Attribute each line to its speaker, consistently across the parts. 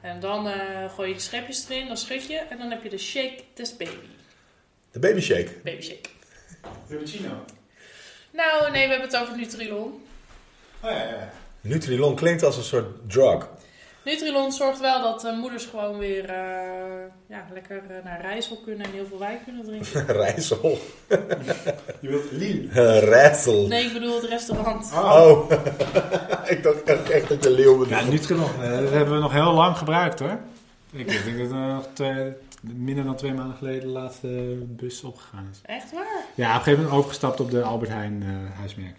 Speaker 1: En dan eh, gooi je de schepjes erin, dan schud je en dan heb je de shake test baby.
Speaker 2: De baby shake.
Speaker 1: Baby shake.
Speaker 3: Cappuccino.
Speaker 1: Nou, nee, we hebben het over Nutrilon.
Speaker 3: Oh ja, ja.
Speaker 2: Nutrilon klinkt als een soort drug.
Speaker 1: Nutrilon zorgt wel dat eh, moeders gewoon weer eh, ja, lekker eh, naar Rijssel kunnen en heel veel wijn kunnen drinken.
Speaker 2: Rijssel. Eh,
Speaker 3: Je wilt lean.
Speaker 2: Rijssel.
Speaker 1: Nee, ik bedoel het restaurant.
Speaker 2: Oh, ik dacht echt, echt dat je leeuw
Speaker 3: Ja,
Speaker 2: bedoelde.
Speaker 3: Nutrilon, eh, dat hebben we nog heel lang gebruikt hoor. Ik denk dat er nog twee, minder dan twee maanden geleden de laatste bus opgegaan is.
Speaker 1: Echt waar?
Speaker 3: Ja, op een gegeven moment overgestapt op de Albert Heijn eh, huismerk.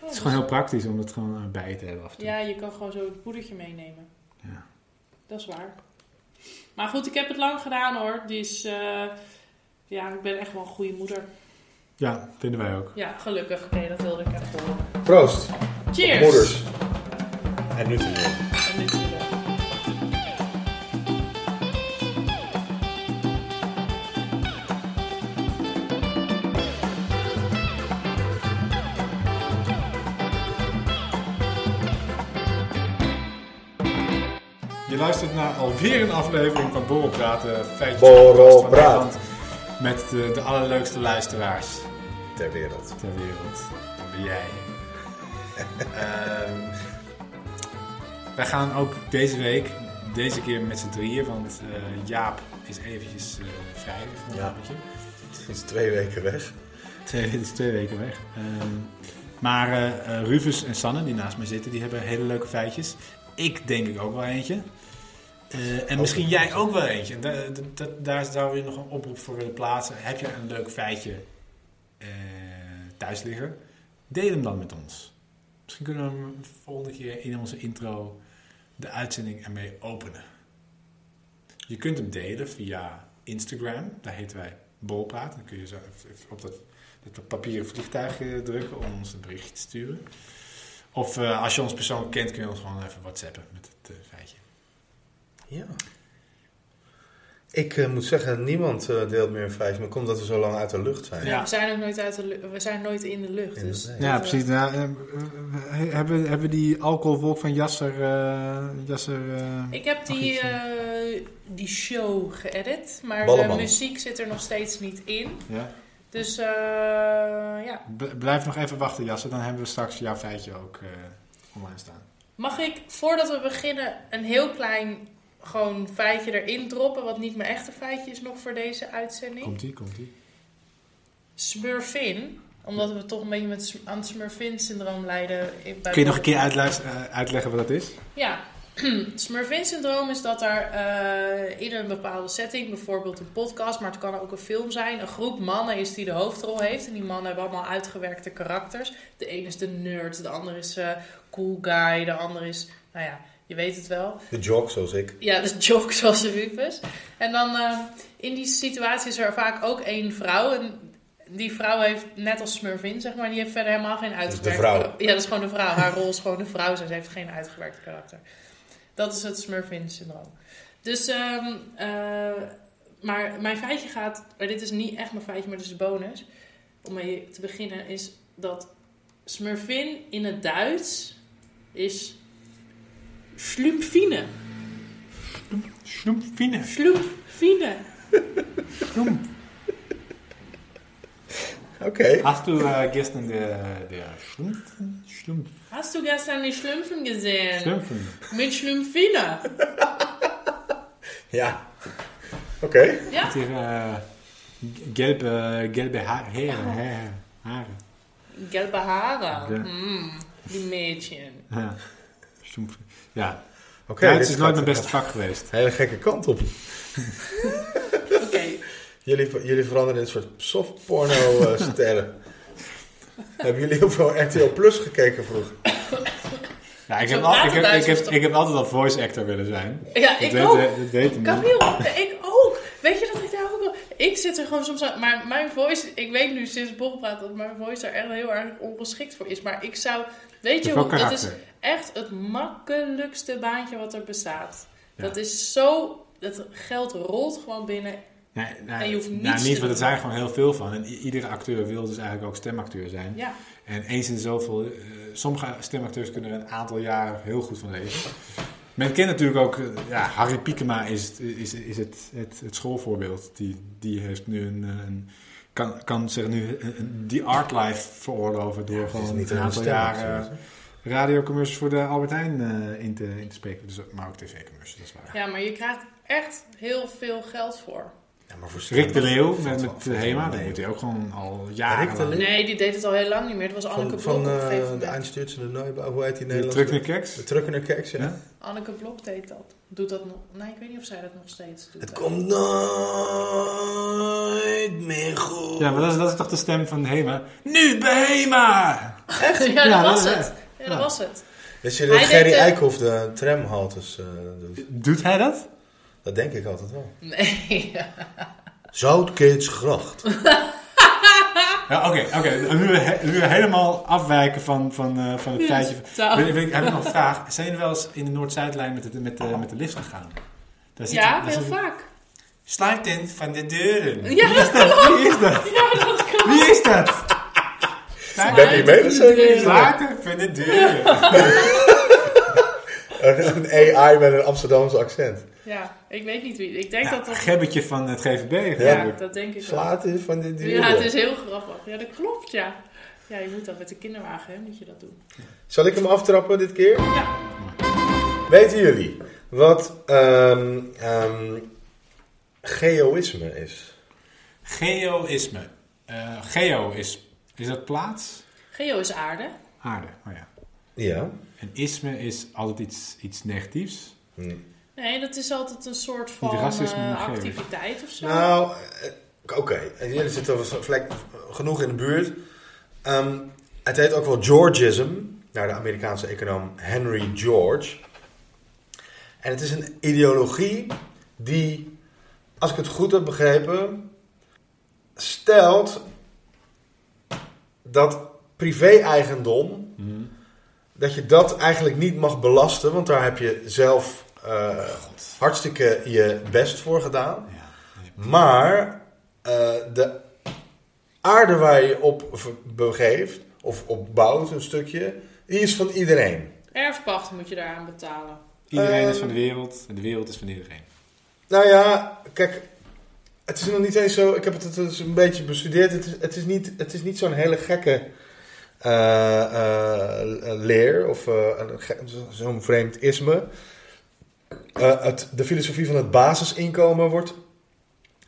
Speaker 3: Het is gewoon heel praktisch om het gewoon eh, bij je te hebben af en toe.
Speaker 1: Ja, je kan gewoon zo het poedertje meenemen.
Speaker 3: Ja.
Speaker 1: Dat is waar. Maar goed, ik heb het lang gedaan hoor. Dus eh, ja, ik ben echt wel een goede moeder.
Speaker 3: Ja, vinden wij ook.
Speaker 1: Ja, gelukkig. Oké, dat wilde ik echt horen.
Speaker 2: Proost.
Speaker 1: Cheers!
Speaker 2: Moeders. En Nutrilon.
Speaker 1: En dit is het.
Speaker 3: Je luistert naar alweer een aflevering van Borrel Praten. Feitjes
Speaker 2: Borrel
Speaker 3: podcast van
Speaker 2: Praat.
Speaker 3: Nederland Met de, de allerleukste luisteraars
Speaker 2: Ter wereld.
Speaker 3: ter wereld. Dat ben jij. Ehm, wij gaan ook deze week, deze keer met z'n drieën, want eh, Jaap is eventjes eh, vrij. voor een
Speaker 2: Ja.
Speaker 3: beetje.
Speaker 2: Sinds twee weken weg.
Speaker 3: Twee, het is twee weken weg. Ehm, maar eh, eh, Rufus en Sanne, die naast mij zitten, die hebben hele leuke feitjes. Ik denk ik ook wel eentje. Eh, en
Speaker 2: Oh.
Speaker 3: misschien jij ook wel eentje. En da- da- da- daar zou je nog een oproep voor willen plaatsen. Heb je een leuk feitje eh, thuis liggen? Deel hem dan met ons. Misschien kunnen we hem volgende keer in onze intro de uitzending ermee openen. Je kunt hem delen via Instagram. Daar heten wij Bolpraat. Dan kun je zo even op dat, dat papieren vliegtuig eh, drukken om ons een berichtje te sturen. Of eh, als je ons persoonlijk kent, kun je ons gewoon even whatsappen met het eh, feitje.
Speaker 2: Ja. Ik eh, moet zeggen, niemand eh, deelt meer een feitje. Maar komt dat we zo lang uit de lucht zijn.
Speaker 3: Ja.
Speaker 1: We zijn ook nooit, uit de lu- we zijn nooit in de lucht. Dus
Speaker 2: Inderdaad.
Speaker 1: dat, eh,
Speaker 3: Nou, eh, hebben, hebben die alcoholwolk van Jasser... eh, Jasser
Speaker 1: Ik heb
Speaker 3: Mag
Speaker 1: die,
Speaker 3: iets,
Speaker 1: eh, die show geëdit, maar
Speaker 2: Balleman.
Speaker 1: de muziek zit er nog steeds niet in.
Speaker 3: ja?
Speaker 1: Dus eh, ja.
Speaker 3: B- blijf nog even wachten, Jasser. Dan hebben we straks jouw feitje ook eh, online staan.
Speaker 1: Mag ik, voordat we beginnen, een heel klein gewoon feitje erin droppen, wat niet mijn echte feitje is nog voor deze uitzending?
Speaker 3: Komt-ie, komt-ie.
Speaker 1: Smurfin, omdat we toch een beetje met, sm- aan het Smurfin-syndroom lijden. in- bij
Speaker 3: Kun je nog een keer uitluis- eh, uitleggen wat dat is?
Speaker 1: Ja, het Smurfin-syndroom is dat er eh, in een bepaalde setting, bijvoorbeeld een podcast, maar het kan ook een film zijn, een groep mannen is die de hoofdrol heeft. En die mannen hebben allemaal uitgewerkte karakters. De een is de nerd, de ander is eh, cool guy, de ander is, nou ja, je weet het wel.
Speaker 2: De jog, zoals ik.
Speaker 1: Ja, dus joke zoals de Rufus. En dan eh, in die situatie is er vaak ook één vrouw. En die vrouw heeft, net als Smurfin, zeg maar, die heeft verder helemaal geen
Speaker 2: is de
Speaker 1: uitgewerkt
Speaker 2: vrouw.
Speaker 1: karakter. Ja, dat is gewoon de vrouw. Haar rol is gewoon de vrouw. Ze heeft geen uitgewerkt karakter. Dat is het Smurfin-syndroom. Dus, ehm, eh, maar mijn feitje gaat, maar dit is niet echt mijn feitje, maar dit is bonus. Om mee te beginnen is dat Smurfin in het Duits is Schlumpfine.
Speaker 3: Schnoempfine.
Speaker 1: Schlumpfine.
Speaker 2: Oké.
Speaker 3: Hast du äh, gestern der, der Schlumpfen? Schlumpf,
Speaker 1: Hast du gestern die Schlümpfen gesehen?
Speaker 3: Schlumpfen?
Speaker 1: Mit Schlümpfine.
Speaker 2: Ja. Oké.
Speaker 1: Ja?
Speaker 3: Die äh, g- gelbe, gelbe ha Haare. Haare. Haare.
Speaker 1: Gelbe Haare.
Speaker 3: Ja.
Speaker 1: Mm, die Mädchen.
Speaker 3: Ja. Schlumpfen. Ja.
Speaker 2: Oké.
Speaker 3: Duits
Speaker 2: dit
Speaker 3: is nooit
Speaker 2: gaat
Speaker 3: mijn beste vak geweest.
Speaker 2: een Hele gekke kant op.
Speaker 1: Oké.
Speaker 2: Jullie, jullie veranderen in een soort softporno-sterren. Hebben jullie heel veel RTL Plus gekeken vroeger?
Speaker 3: Ja, ik,
Speaker 1: Zo
Speaker 3: heb al, ik,
Speaker 1: praten
Speaker 3: heb, ik,
Speaker 1: Duitsers
Speaker 3: heb,
Speaker 1: toch?
Speaker 3: ik heb altijd al voice actor willen zijn.
Speaker 1: Ja,
Speaker 3: Dat
Speaker 1: ik
Speaker 3: weet-
Speaker 1: ook.
Speaker 3: eh, Dat weet ik niet.
Speaker 1: Camille, ik ook. Weet je dat ik daar ook wel... Ik zit er gewoon soms aan... Maar mijn voice... Ik weet nu sinds Bob praat dat mijn voice daar echt heel erg ongeschikt voor is. Maar ik zou... Weet
Speaker 3: Dat
Speaker 1: je hoe...
Speaker 3: is wel
Speaker 1: Dat is
Speaker 3: karakter.
Speaker 1: echt het makkelijkste baantje wat er bestaat.
Speaker 3: Ja.
Speaker 1: Dat is zo... Het geld rolt gewoon binnen.
Speaker 3: Nee, nee,
Speaker 1: En je hoeft
Speaker 3: nou,
Speaker 1: niets te
Speaker 3: niet, want er
Speaker 1: doen.
Speaker 3: zijn gewoon heel veel van. En i- iedere acteur wil dus eigenlijk ook stemacteur zijn.
Speaker 1: Ja.
Speaker 3: En eens in zoveel, eh, sommige stemacteurs kunnen er een aantal jaren heel goed van leven. Men kent natuurlijk ook, eh, ja, Harry Piekema is, is, is het, het, het schoolvoorbeeld. Die, die heeft nu een, eh, een kan, kan zich nu een- een- die art life veroorloven door
Speaker 2: Ja, het is
Speaker 3: gewoon
Speaker 2: niet
Speaker 3: een
Speaker 2: aan de
Speaker 3: aantal
Speaker 2: stem,
Speaker 3: jaren
Speaker 2: absoluut,
Speaker 3: radiocommercials voor de Albert Heijn eh, in, te, in te spreken. Dus, maar ook tv-commercials, dat is waar.
Speaker 1: Ja, maar je krijgt echt heel veel geld voor.
Speaker 2: Ja, maar voor
Speaker 3: Dus Rick de
Speaker 2: stemmen
Speaker 3: Leeuw
Speaker 2: valt
Speaker 3: met,
Speaker 2: wel-
Speaker 3: met eh,
Speaker 2: valt
Speaker 3: Hema,
Speaker 2: wel
Speaker 3: dat
Speaker 2: mee.
Speaker 3: moet hij ook gewoon al jaren
Speaker 2: Rick de Leeuw?
Speaker 1: Nee, die deed het al heel lang niet meer. Het was Anneke Blok
Speaker 2: Van, van
Speaker 1: op een
Speaker 2: eh,
Speaker 1: gegeven
Speaker 2: de
Speaker 1: moment.
Speaker 2: Eindstuurtse Neubouw, hoe heet die
Speaker 3: De truck naar
Speaker 2: Nederlandse?
Speaker 3: keks.
Speaker 2: De Truckener Keks, ja.
Speaker 3: Ja.
Speaker 1: Anneke Blok deed dat. Doet dat nog? Nee, ik weet niet of zij dat nog steeds doet.
Speaker 2: Het komt nooit meer goed.
Speaker 3: ja, maar dat is, dat is toch de stem van Hema? Nu bij Hema!
Speaker 1: Echt? Ja,
Speaker 3: Ja,
Speaker 1: dat was
Speaker 3: dat-
Speaker 1: het. Ja, dat
Speaker 3: ja.
Speaker 1: was het.
Speaker 2: Dus je
Speaker 1: Hij
Speaker 2: dat Gerry
Speaker 1: deed, eh,
Speaker 2: Eikhoff de tramhaltes eh, doet.
Speaker 3: Doet hij dat?
Speaker 2: Dat denk ik altijd wel.
Speaker 1: Nee, ja.
Speaker 2: Zoutkeetsgracht.
Speaker 3: Ja, oké, oké. Nu, we he- nu we helemaal afwijken van, van, eh, van het
Speaker 1: Ja,
Speaker 3: feitje.
Speaker 1: totaal.
Speaker 3: Wil- wil ik- Heb ik nog een vraag? Zijn jullie wel eens in de Noord-Zuidlijn met de, met de, met de lift gegaan? Daar zit-
Speaker 1: ja
Speaker 3: daar
Speaker 1: heel
Speaker 3: zit-
Speaker 1: vaak.
Speaker 3: Sluit in van de deuren.
Speaker 1: Ja,
Speaker 3: Wie is dat? Wie is dat?
Speaker 1: Ja, dat klopt.
Speaker 3: Wie is dat? Sluit
Speaker 2: Ben je mee
Speaker 1: Uit-
Speaker 2: gezeten?
Speaker 3: Sluit in van de deuren.
Speaker 2: Een AI met een Amsterdamse accent.
Speaker 1: Ja, ik weet niet wie. Ik denk
Speaker 3: Ja,
Speaker 1: dat dat...
Speaker 3: Gebbetje van het GVB.
Speaker 1: Ja,
Speaker 3: geloof ik.
Speaker 1: dat denk ik wel.
Speaker 2: Slaat is van dit duur.
Speaker 1: Ja, het is heel grappig. Ja, dat klopt, ja. Ja, je moet dat met de kinderwagen, hè, moet je dat doen.
Speaker 2: Zal ik hem aftrappen dit keer?
Speaker 1: Ja.
Speaker 2: Weten jullie wat ehm, ehm, geoïsme is?
Speaker 3: Geoïsme. Eh, geo is... Is dat plaats?
Speaker 1: Geo is aarde.
Speaker 3: Aarde, oh ja.
Speaker 2: Ja.
Speaker 3: En isme is altijd iets, iets negatiefs.
Speaker 2: Hm.
Speaker 1: Nee, dat is altijd een soort van
Speaker 3: Niet racisme,
Speaker 1: eh,
Speaker 3: maar geo.
Speaker 1: activiteit of zo.
Speaker 2: Nou, eh, oké. En Jullie zitten al vlek, genoeg in de buurt. Ehm, het heet ook wel Georgism, naar de Amerikaanse econoom Henry George. En het is een ideologie die, als ik het goed heb begrepen, stelt dat privé-eigendom, dat je dat eigenlijk niet mag belasten, want daar heb je zelf eh,
Speaker 1: Oh,
Speaker 3: God.
Speaker 2: hartstikke je best voor gedaan.
Speaker 3: Ja.
Speaker 2: Maar eh, de aarde waar je op ver- begeeft, of op bouwt een stukje, die is van iedereen.
Speaker 1: Erfpacht moet je daaraan betalen.
Speaker 3: Iedereen
Speaker 2: Eh,
Speaker 3: is
Speaker 1: Ehm,
Speaker 3: van de wereld en de wereld is van iedereen.
Speaker 2: Nou ja, kijk, het is nog niet eens zo. Ik heb het, het is een beetje bestudeerd. Het is, het is niet, het is niet zo'n hele gekke eh, eh, leer of eh, een ge- zo'n vreemd isme. Eh, het, de filosofie van het basisinkomen wordt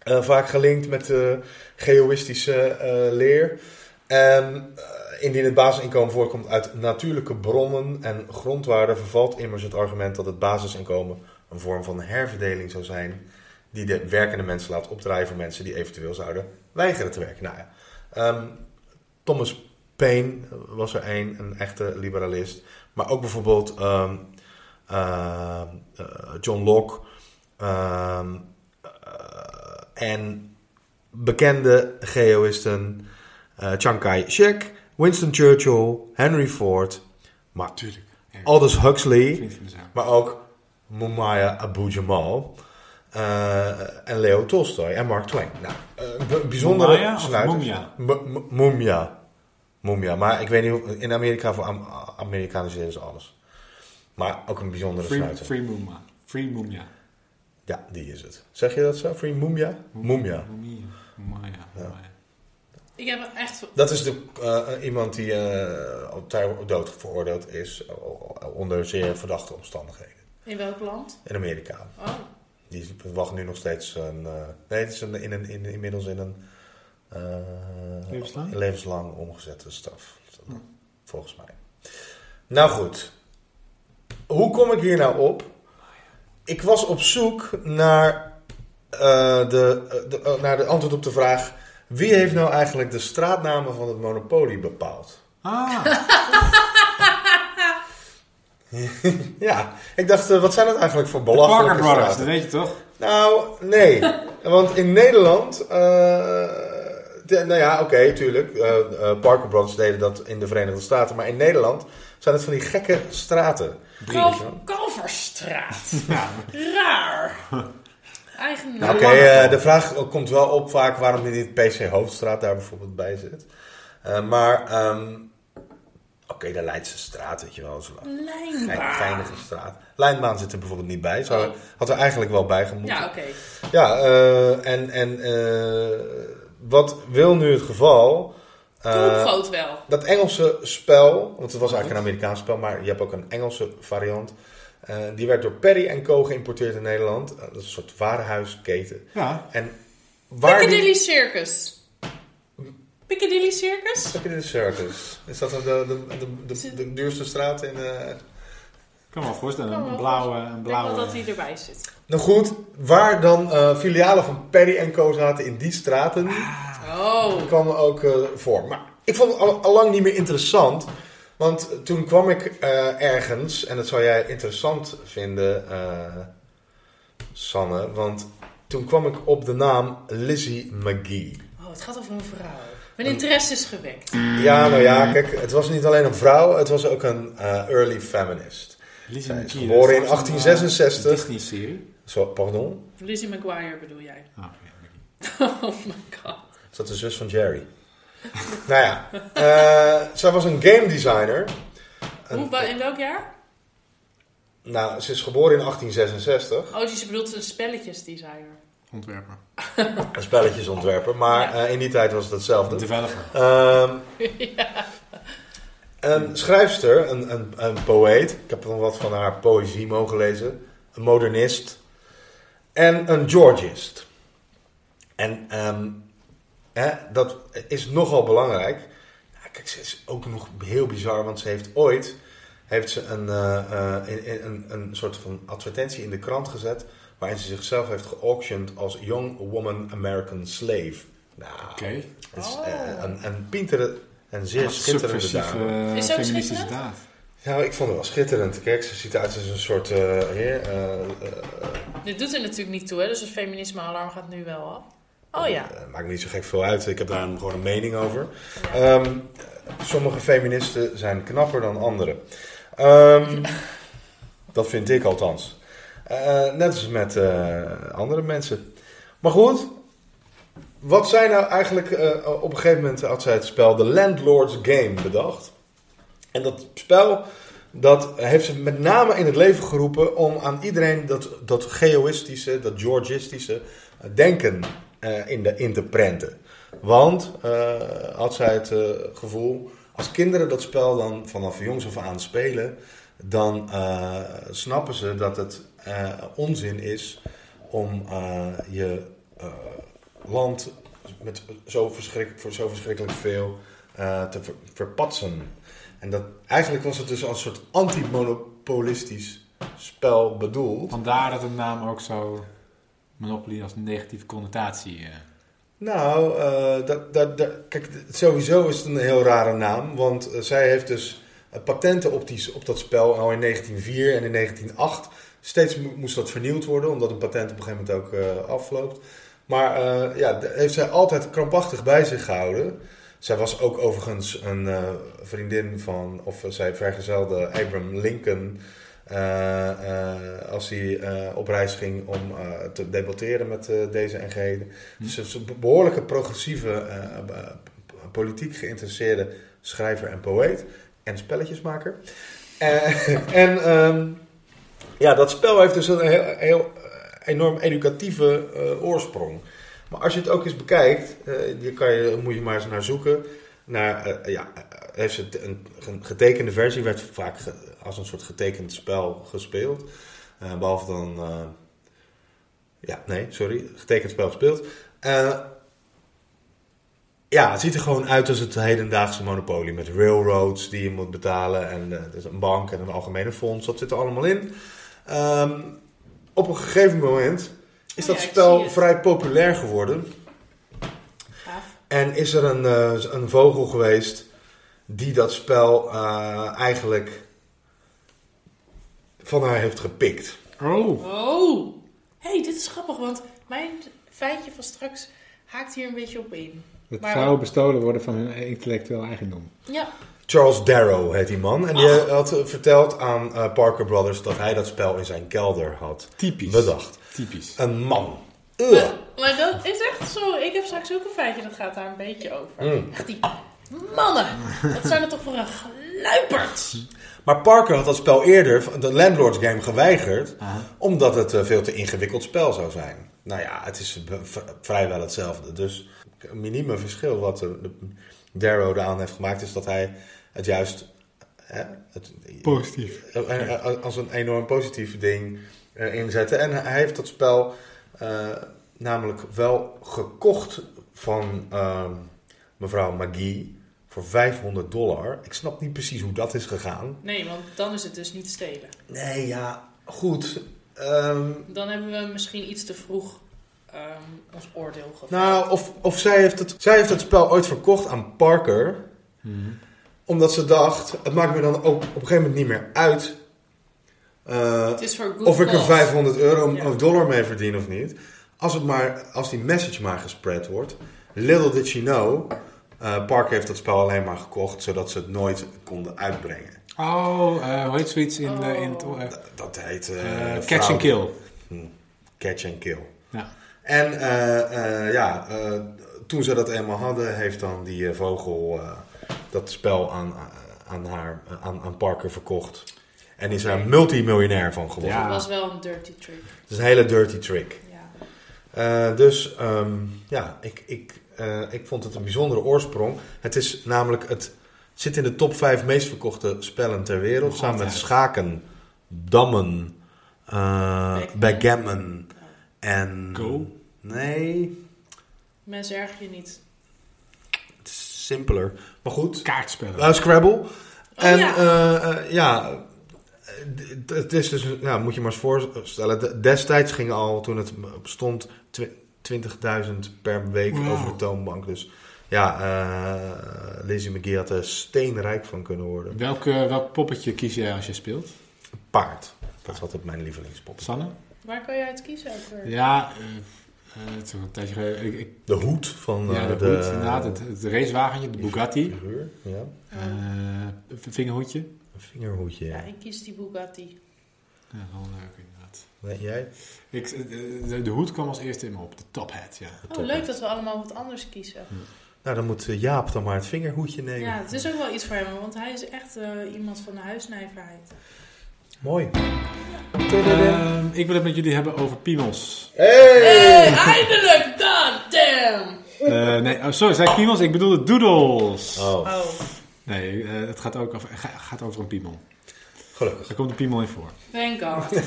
Speaker 2: eh, vaak gelinkt met de geoïstische eh, leer. En eh, indien het basisinkomen voorkomt uit natuurlijke bronnen en grondwaarden, vervalt immers het argument dat het basisinkomen een vorm van herverdeling zou zijn die de werkende mensen laat opdraaien voor mensen die eventueel zouden weigeren te werken. Nou ja, ehm, Thomas Paine was er een, een echte liberalist, maar ook bijvoorbeeld ehm, eh, eh, John Locke ehm, eh, en bekende geoïsten eh Chiang Kai-shek, Winston Churchill, Henry Ford, maar
Speaker 3: Natuurlijk.
Speaker 2: Aldous Huxley.
Speaker 3: Vriend van de zaak.
Speaker 2: Maar ook Mumaya Abu-Jamal. eh, en Leo Tolstoy en Mark Twain. Nou, eh, b- bijzondere
Speaker 3: Mumaya of
Speaker 2: sluiters.
Speaker 3: Mumia?
Speaker 2: M- m- Mumia. Mumia. Maar ik weet niet, hoe- in Amerika voor Am Amerikaniseren ze alles. Maar ook een bijzondere
Speaker 3: Free,
Speaker 2: sluiter.
Speaker 3: free Mumia. Free Mumia.
Speaker 2: Ja, die is het. Zeg je dat zo? Free Mumia? Mumia.
Speaker 3: Mumia. Mumia. Mumia.
Speaker 1: Ik heb echt...
Speaker 2: Dat is de, eh, iemand die eh, op ter- op dood veroordeeld is eh, onder zeer verdachte omstandigheden.
Speaker 1: In welk land?
Speaker 2: In Amerika.
Speaker 1: Oh,
Speaker 2: Die wacht nu nog steeds een. eh, nee, het is een, in een, in, inmiddels in een. eh,
Speaker 3: Levenslang?
Speaker 2: levenslang omgezette straf. Volgens mij. Nou goed. Hoe kom ik hier nou op? Ik was op zoek naar, eh, de, eh, de- eh, naar de antwoord op de vraag. Wie heeft nou eigenlijk de straatnamen van het monopolie bepaald?
Speaker 3: Ah,
Speaker 2: Ja, ik dacht, eh, wat zijn het eigenlijk voor
Speaker 3: de
Speaker 2: belachelijke
Speaker 3: Parker Brothers,
Speaker 2: straten?
Speaker 3: dat weet je toch?
Speaker 2: Nou, nee. Want in Nederland. eh, de- nou ja, oké, tuurlijk. eh, eh, Parker Brothers deden dat in de Verenigde Staten. Maar in Nederland zijn het van die gekke straten.
Speaker 1: Kalf, Kalverstraat. Raar. Eigen
Speaker 2: Nou,
Speaker 1: naam.
Speaker 2: oké, eh, de vraag komt wel op vaak waarom niet PC Hoofdstraat daar bijvoorbeeld bij zit. Eh, maar ehm, de Leidse straat, weet je wel. Zo'n
Speaker 1: Ah.
Speaker 2: gein-
Speaker 1: Lijnbaan.
Speaker 2: geinige straat. Lijnbaan zit er bijvoorbeeld niet bij. Zou, had er eigenlijk wel bij gemoeten.
Speaker 1: Ja, oké.
Speaker 2: Ja, eh, en, en eh, wat wil nu het geval? eh,
Speaker 1: Topgoot wel.
Speaker 2: dat Engelse spel, want het was eigenlijk een Amerikaans spel, maar je hebt ook een Engelse variant. eh, die werd door Perry Co. geïmporteerd in Nederland. Eh, dat is een soort warenhuisketen.
Speaker 3: Ja.
Speaker 2: En waar die-
Speaker 1: Piccadilly Circus. Piccadilly Circus?
Speaker 2: Piccadilly Circus. Is dat de, de, de, de, de duurste straat in... eh,
Speaker 3: Ik kan me wel voorstellen.
Speaker 1: Kan me
Speaker 3: Een
Speaker 1: wel
Speaker 3: blauwe, een
Speaker 1: Ik denk wel
Speaker 3: blauwe.
Speaker 1: dat hij erbij zit.
Speaker 2: Nou goed, waar dan eh, filialen van Perry Co. zaten in die straten...
Speaker 3: Ah,
Speaker 1: Oh.
Speaker 2: kwam er ook eh, voor. Maar ik vond het al, lang niet meer interessant. Want toen kwam ik eh, ergens, en dat zou jij interessant vinden, eh, Sanne. Want toen kwam ik op de naam Lizzie McGee.
Speaker 1: oh, het gaat over een vrouw. Mijn interesse is gewekt.
Speaker 2: Ja, nou ja, kijk, het was niet alleen een vrouw, het was ook een eh, early feminist.
Speaker 3: Lizzie
Speaker 2: Zij is
Speaker 3: McGee,
Speaker 2: geboren
Speaker 3: dat
Speaker 2: in
Speaker 3: is een, eh,
Speaker 2: 1866.
Speaker 3: Disney-serie.
Speaker 2: Zo, pardon?
Speaker 1: Lizzie McGuire bedoel jij.
Speaker 3: Ah, ja, McGee.
Speaker 1: Oh my god.
Speaker 2: Is dat de zus van Jerry? nou ja, eh, zij was een game designer. Een-
Speaker 1: Hoe, wa- in welk jaar?
Speaker 2: nou, ze is geboren in 1866.
Speaker 1: Oh, dus je bedoelt een spelletjesdesigner.
Speaker 3: Ontwerper.
Speaker 2: Een spelletjesontwerper, maar
Speaker 1: Ja.
Speaker 2: eh, in die tijd was het hetzelfde.
Speaker 3: Developer.
Speaker 2: Ehm, Een schrijfster, een, een, een poëet, ik heb nog wat van haar poëzie mogen lezen, een modernist en een Georgist. En ehm, hè, dat is nogal belangrijk. Ja, kijk, ze is ook nog heel bizar, want ze heeft ooit heeft ze een, eh, eh, in- in- een, een soort van advertentie in de krant gezet, waarin ze zichzelf heeft geauctioned als Young Woman American Slave. Nou,
Speaker 3: Oké.
Speaker 2: dat is
Speaker 1: Oh.
Speaker 2: eh, een, een pintere en zeer
Speaker 3: Wat
Speaker 2: schitterende
Speaker 3: subversieve,
Speaker 2: dame.
Speaker 3: eh,
Speaker 1: Is ze ook
Speaker 3: feministische daad.
Speaker 2: Nou, ik vond haar wel schitterend. Kijk, ze ziet eruit als een soort... eh, heer, eh, eh,
Speaker 1: Dit doet er natuurlijk niet toe, hè? dus het feminisme-alarm gaat nu wel af. Oh ja.
Speaker 2: eh, maakt niet zo gek veel uit. Ik heb daar gewoon een mening over. Ehm, sommige feministen zijn knapper dan anderen. Ehm, dat vind ik althans. Eh, net als met eh, andere mensen. Maar goed, wat zij nou eigenlijk... eh, op een gegeven moment had zij het spel The Landlord's Game bedacht. En dat spel... Dat heeft ze met name in het leven geroepen om aan iedereen dat, dat geoïstische, dat Georgistische eh, denken eh, in, de, in te prenten. Want eh, had zij het eh, gevoel, als kinderen dat spel dan vanaf jongs af aan spelen, dan eh, snappen ze dat het eh, onzin is om eh, je eh, land met zo verschrik, voor zo verschrikkelijk veel eh, te ver- verpatsen. En dat, eigenlijk was het dus als een soort antimonopolistisch spel bedoeld.
Speaker 3: Vandaar dat de naam ook zo Monopoly als negatieve connotatie. eh.
Speaker 2: Nou, eh, dat, dat, dat- kijk, sowieso is het een heel rare naam. Want eh, zij heeft dus eh, patenten op, die, op dat spel al in 1904 en in 1908. Steeds mo- moest dat vernieuwd worden, omdat een patent op een gegeven moment ook eh, afloopt. Maar eh, ja, dat heeft zij altijd krampachtig bij zich gehouden. Zij was ook overigens een eh, vriendin van, of eh, zij vergezelde Abraham Lincoln. eh, eh, als hij eh, op reis ging om eh, te debatteren met eh, deze en gene. Dus ze is een behoorlijke progressieve, eh, eh, politiek geïnteresseerde schrijver en poëet. En spelletjesmaker. Eh, en ehm, ja, dat spel heeft dus een heel, heel eh, enorm educatieve eh, oorsprong. Maar als je het ook eens bekijkt, eh, die kan je, moet je maar eens naar zoeken. Naar, eh, ja, eh, heeft ze het- een, een getekende versie, werd vaak ge- als een soort getekend spel gespeeld. Eh, behalve dan. eh, ja, nee, sorry. Getekend spel gespeeld. Eh, ja, het ziet er gewoon uit als het hedendaagse monopolie. Met railroads die je moet betalen. En eh, dus een bank en een algemene fonds. Dat zit er allemaal in. Ehm, op een gegeven moment is
Speaker 1: Oh ja,
Speaker 2: dat
Speaker 1: ik zie
Speaker 2: spel
Speaker 1: het.
Speaker 2: vrij populair geworden.
Speaker 1: Gaaf.
Speaker 2: En is er een, eh, een vogel geweest die dat spel eh, eigenlijk van haar heeft gepikt.
Speaker 3: Oh.
Speaker 1: Oh. hey, dit is grappig, want mijn feitje van straks haakt hier een beetje op in.
Speaker 3: Dat
Speaker 1: Maar-
Speaker 3: vrouwen bestolen worden van hun intellectueel eigendom.
Speaker 1: Ja.
Speaker 2: Charles Darrow heet die man. En die had eh, verteld aan eh, Parker Brothers dat hij dat spel in zijn kelder had
Speaker 3: Typisch.
Speaker 2: bedacht.
Speaker 3: Typisch.
Speaker 2: Een man. Ugh.
Speaker 1: Maar, maar dat is echt zo. Ik heb straks ook een feitje dat gaat daar een beetje over.
Speaker 2: Mm.
Speaker 1: Echt die Mannen, wat zijn er toch voor een gluiperds?
Speaker 2: Maar Parker had dat spel eerder, de Landlords Game, geweigerd.
Speaker 3: Aha.
Speaker 2: Omdat het eh, veel te ingewikkeld spel zou zijn. Nou ja, het is b- v- vrijwel hetzelfde. Dus het minieme verschil wat de, de Darrow eraan heeft gemaakt... is dat hij het juist hè, het,
Speaker 3: Positief.
Speaker 2: eh, eh, als een enorm positief ding eh, inzette. En hij heeft dat spel eh, namelijk wel gekocht van ehm, mevrouw McGee... Voor 500 dollar. Ik snap niet precies hoe dat is gegaan.
Speaker 1: Nee, want dan is het dus niet stelen.
Speaker 2: Nee, ja, goed. Ehm,
Speaker 1: Dan hebben we misschien iets te vroeg ehm, ons oordeel geveld.
Speaker 2: nou, of, of zij, heeft het, zij heeft het spel ooit verkocht aan Parker.
Speaker 3: Mhm.
Speaker 2: Omdat ze dacht, het maakt me dan ook op een gegeven moment niet meer uit. eh,
Speaker 1: het is voor good
Speaker 2: of ik er
Speaker 1: cause.
Speaker 2: 500 euro
Speaker 1: Ja.
Speaker 2: of dollar mee verdien of niet. Als, het maar, als die message maar gespread wordt. Little did she know. eh, Parker heeft dat spel alleen maar gekocht, zodat ze het nooit konden uitbrengen.
Speaker 3: Oh, eh, hoe heet zoiets in, de in het... eh,
Speaker 1: Oh.
Speaker 2: Dat heet...
Speaker 3: eh,
Speaker 2: eh,
Speaker 3: catch
Speaker 2: fraude.
Speaker 3: and kill.
Speaker 2: Catch and kill.
Speaker 3: Ja.
Speaker 2: En eh, eh, ja, eh, toen ze dat eenmaal hadden, heeft dan die eh, vogel eh, dat spel aan, aan, haar, eh, aan, aan Parker verkocht. En is daar multimiljonair van geworden.
Speaker 3: Ja.
Speaker 1: Het was wel een dirty trick.
Speaker 2: Dat is een hele dirty trick.
Speaker 1: Ja.
Speaker 2: Eh, dus ehm, ja, ik, ik, eh, ik vond het een bijzondere oorsprong. Het is namelijk, het zit in de top 5 meest verkochte spellen ter wereld.
Speaker 3: Nog
Speaker 2: samen met
Speaker 3: altijd.
Speaker 2: schaken, dammen, eh,
Speaker 1: Backgammon.
Speaker 2: backgammon en...
Speaker 3: Go.
Speaker 2: Nee,
Speaker 1: Mensen erg je niet.
Speaker 2: Het is simpeler. Maar goed,
Speaker 3: Kaartspellen.
Speaker 2: eh, Scrabble. en
Speaker 1: Oh, ja.
Speaker 2: eh, ja, ja eh, d- d- het is dus, nou, moet je maar eens voorstellen. de- Destijds ging al, toen het bestond, twi- 20.000 per week
Speaker 3: Wow.
Speaker 2: over de toonbank. Dus ja, eh Lizzie McGee had er steenrijk van kunnen worden.
Speaker 3: Welke, welk poppetje kies jij als je speelt?
Speaker 2: Paard. Dat is altijd mijn lievelingspop.
Speaker 3: Sanne?
Speaker 1: Waar kan jij het kiezen over?
Speaker 3: Ja, eh, eh, het is een tijdje geleden. Ik, ik,
Speaker 2: De hoed van
Speaker 3: ja,
Speaker 2: eh,
Speaker 3: Nou, de,
Speaker 2: de...
Speaker 3: hoed, inderdaad. Het, het racewagentje, de Bugatti.
Speaker 2: Figuur, ja.
Speaker 3: eh, het vingerhoedje.
Speaker 2: Een vingerhoedje.
Speaker 1: Ja,
Speaker 2: Ja.
Speaker 1: ik kies die Bugatti.
Speaker 3: Ja, wel leuk inderdaad.
Speaker 2: Nee, jij?
Speaker 3: Ik, eh, de, de hoed kwam als eerste in me op, de top hat, ja.
Speaker 1: Oh,
Speaker 2: Top.
Speaker 1: leuk dat we allemaal wat anders kiezen.
Speaker 2: Nou, dan moet eh, Jaap dan maar het vingerhoedje nemen.
Speaker 1: Ja, het is ook wel iets voor hem, want hij is echt eh, iemand van de huisnijverheid.
Speaker 2: Mooi.
Speaker 3: Ehm, ik wil het met jullie hebben over piemels.
Speaker 1: Hey, eindelijk dan! Damn!
Speaker 3: Eh, nee, oh, sorry, zei ik piemels? Ik bedoelde doodles.
Speaker 2: Oh,
Speaker 1: Oh,
Speaker 3: Nee, eh, het gaat ook over, ga- gaat over een piemel.
Speaker 2: gelukkig.
Speaker 3: Daar komt de piemel in voor.
Speaker 1: thank god. Ik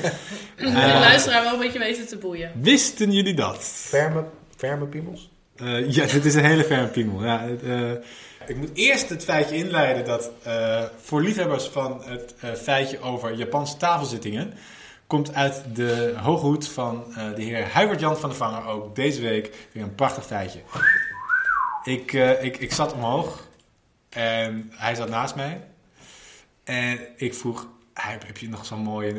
Speaker 3: Eh.
Speaker 1: luisteraar wel een beetje weten te boeien.
Speaker 3: Wisten jullie dat?
Speaker 2: Ferme, ferme piemels?
Speaker 3: Eh, ja, dit is een hele verre piemel. Ja, het, eh, ik moet eerst het feitje inleiden dat eh, voor liefhebbers van het eh, feitje over Japanse tafelzittingen komt uit de hoge hoed van eh, de heer Huibert Jan van der Vanger ook deze week weer een prachtig feitje. Ik, eh, ik, ik zat omhoog en hij zat naast mij en ik vroeg, "Huib, heb je nog zo'n mooie... Zo,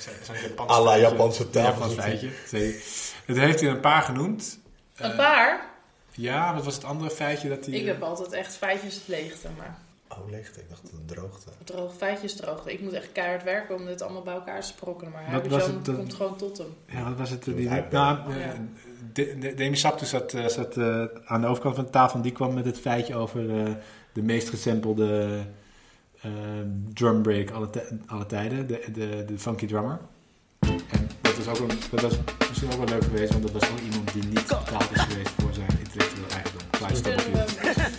Speaker 3: zo, zo'n Japans
Speaker 2: À la
Speaker 3: feitje?"
Speaker 2: Japanse
Speaker 3: Japans
Speaker 2: tafelzitting.
Speaker 3: feitje. Zei- Het heeft hij een paar genoemd.
Speaker 1: Een
Speaker 3: Eh,
Speaker 1: paar?
Speaker 3: ja, wat was het andere feitje dat hij...
Speaker 1: Ik heb altijd echt feitjes het leegte, maar
Speaker 2: Oh, leegte. Ik dacht dat het droogte.
Speaker 1: droog, feitjes droogte. Ik moet echt keihard werken om dit allemaal bij elkaar te sprokkelen, maar
Speaker 3: Wat
Speaker 1: hij
Speaker 3: was
Speaker 1: Jan
Speaker 3: het, dat-
Speaker 1: komt gewoon tot hem.
Speaker 3: Ja, wat was het? eh,
Speaker 2: Doe
Speaker 3: Die,
Speaker 2: het uit,
Speaker 3: nou, eh,
Speaker 1: Ja.
Speaker 3: de- de- Demi Saptus zat, eh, zat eh, aan de overkant van de tafel. en Die kwam met het feitje over eh, de meest gesampelde eh drumbreak alle, tij- alle tijden. De, de, de funky drummer. En dat was, ook een, dat was misschien ook wel leuk geweest. Want dat was ook iemand die niet betaald is geweest voor zijn intellectueel eigendom. Clive
Speaker 1: Kunnen we,
Speaker 3: Scofield.
Speaker 1: kunnen we maken.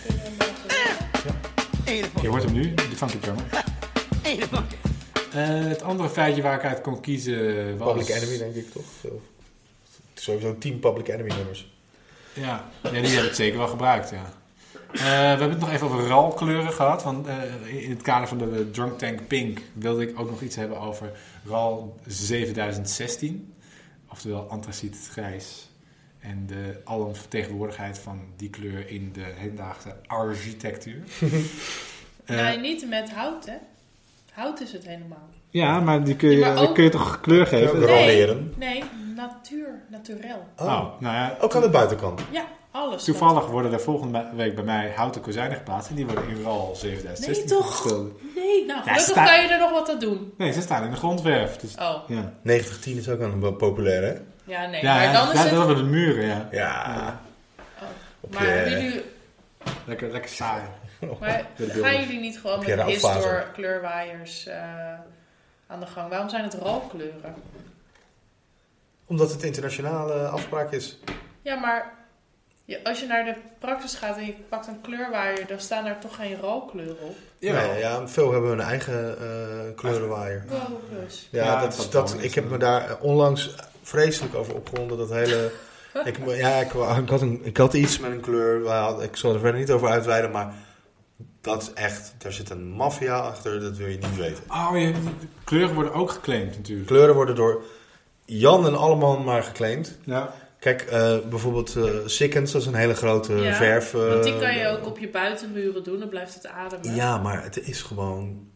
Speaker 3: Je hoort hem nu, de funky drummer. Eh, het andere feitje waar ik uit kon kiezen was...
Speaker 2: Public Enemy, denk ik toch? Zo. Sowieso 10 Public Enemy nummers.
Speaker 3: Ja, ja die heb ik zeker wel gebruikt, ja. Eh, we hebben het nog even over RAL-kleuren gehad. Want eh, in het kader van de eh, Drunk Tank Pink wilde ik ook nog iets hebben over RAL 7016. Oftewel antraciet grijs. En de alomvertegenwoordigheid van die kleur in de hedendaagse architectuur. Eh,
Speaker 1: Nee, niet met hout, hè? Hout is het helemaal.
Speaker 3: ja, maar die kun je,
Speaker 1: Ja, maar ook-
Speaker 3: kun je toch kleur
Speaker 2: Even
Speaker 3: geven?
Speaker 1: Nee.
Speaker 2: rolleren.
Speaker 1: Nee, natuur, naturel.
Speaker 2: Oh.
Speaker 3: Oh, nou ja,
Speaker 2: Ook aan de buitenkant.
Speaker 1: Ja, alles.
Speaker 3: toevallig worden er volgende week bij mij houten kozijnen geplaatst. En die worden in RAL 7016
Speaker 1: Nee, toch?
Speaker 3: gesteld.
Speaker 1: Nee, nou gelukkig
Speaker 3: sta-
Speaker 1: kan je er nog wat aan doen.
Speaker 3: Nee, ze staan in de grondwerf. Dus,
Speaker 1: Oh,
Speaker 3: ja.
Speaker 2: 9010 is ook aan de populaire, hè?
Speaker 1: ja, nee.
Speaker 3: ja,
Speaker 1: maar dan
Speaker 3: ja,
Speaker 1: is
Speaker 3: dat
Speaker 1: het...
Speaker 3: hebben we de muren, ja.
Speaker 2: Ja. Op
Speaker 1: Maar
Speaker 2: je-
Speaker 1: nu,
Speaker 3: Lekker, lekker saai.
Speaker 1: Maar
Speaker 3: beeld
Speaker 1: gaan
Speaker 3: is.
Speaker 1: jullie niet gewoon
Speaker 2: Heb
Speaker 1: met
Speaker 2: jij nou
Speaker 1: his
Speaker 2: ook
Speaker 1: door
Speaker 2: fasen?
Speaker 1: kleurwaaiers eh, aan de gang? Waarom zijn het rookkleuren?
Speaker 2: Omdat het internationale afspraak is.
Speaker 1: Ja, maar je, als je naar de praxis gaat en je pakt een kleurwaaier, dan staan daar toch geen rookkleuren op.
Speaker 3: Jawel.
Speaker 2: Nee, ja, veel hebben hun eigen eh kleurenwaaier.
Speaker 1: Wow, plus.
Speaker 2: Ja,
Speaker 3: Ja,
Speaker 2: dat is,
Speaker 3: dat
Speaker 2: dat,
Speaker 3: wel.
Speaker 2: ik heb me daar onlangs vreselijk over opgewonden. Dat hele. ik, mo- ja, ik, wa- ik, had een, ik had iets met een kleur. waar- ik zal er verder niet over uitweiden. Maar dat is echt. Daar zit een maffia achter. Dat wil je niet weten.
Speaker 3: Oh, je, de kleuren worden ook geclaimd natuurlijk.
Speaker 2: Kleuren worden door Jan en Alleman maar geclaimd.
Speaker 3: Ja.
Speaker 2: Kijk, eh, bijvoorbeeld eh Sikkens, dat is een hele grote
Speaker 1: Ja,
Speaker 2: verf. eh,
Speaker 1: Want die kan je ook op je buitenmuren doen, dan blijft het ademen.
Speaker 2: Ja, maar het is gewoon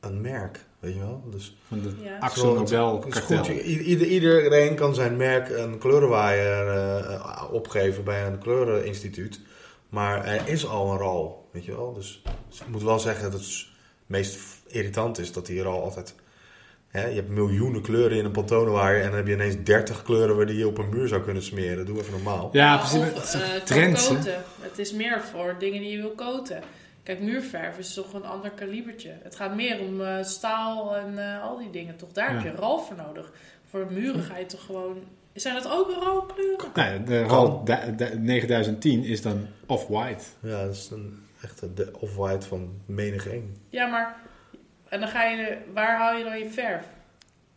Speaker 2: een merk. Weet je wel? Dus
Speaker 3: Van de
Speaker 1: Ja.
Speaker 3: Axel
Speaker 2: Zo, het-
Speaker 3: Nobel
Speaker 2: Het is
Speaker 3: kartel.
Speaker 2: goed. I- ieder- iedereen kan zijn merk een kleurenwaaier eh, eh, opgeven bij een kleureninstituut. Maar er is al een rol, weet je wel. Dus ik moet wel zeggen dat het s- meest f- irritant is dat die rol altijd... Hè, je hebt miljoenen kleuren in een pantonenwaaier en dan heb je ineens 30 kleuren waar die je op een muur zou kunnen smeren. Doe even normaal.
Speaker 3: Ja,
Speaker 1: Of,
Speaker 3: precies. Het is
Speaker 1: eh,
Speaker 3: een
Speaker 1: kan
Speaker 3: trends, hè?
Speaker 1: koten. Het is meer voor dingen die je wil koten. Kijk, muurverf is toch een ander kalibertje. Het gaat meer om eh, staal en eh, al die dingen. Toch daar
Speaker 3: Ja.
Speaker 1: heb je ralf voor nodig. Voor muren ga je toch gewoon... Zijn dat ook rookkleuren?
Speaker 3: Nou, de RAL da- da- 9010 is dan off-white.
Speaker 2: Ja, dat is een, echt de off-white van menig één.
Speaker 1: Ja, maar... En dan ga je... Waar haal je dan je verf?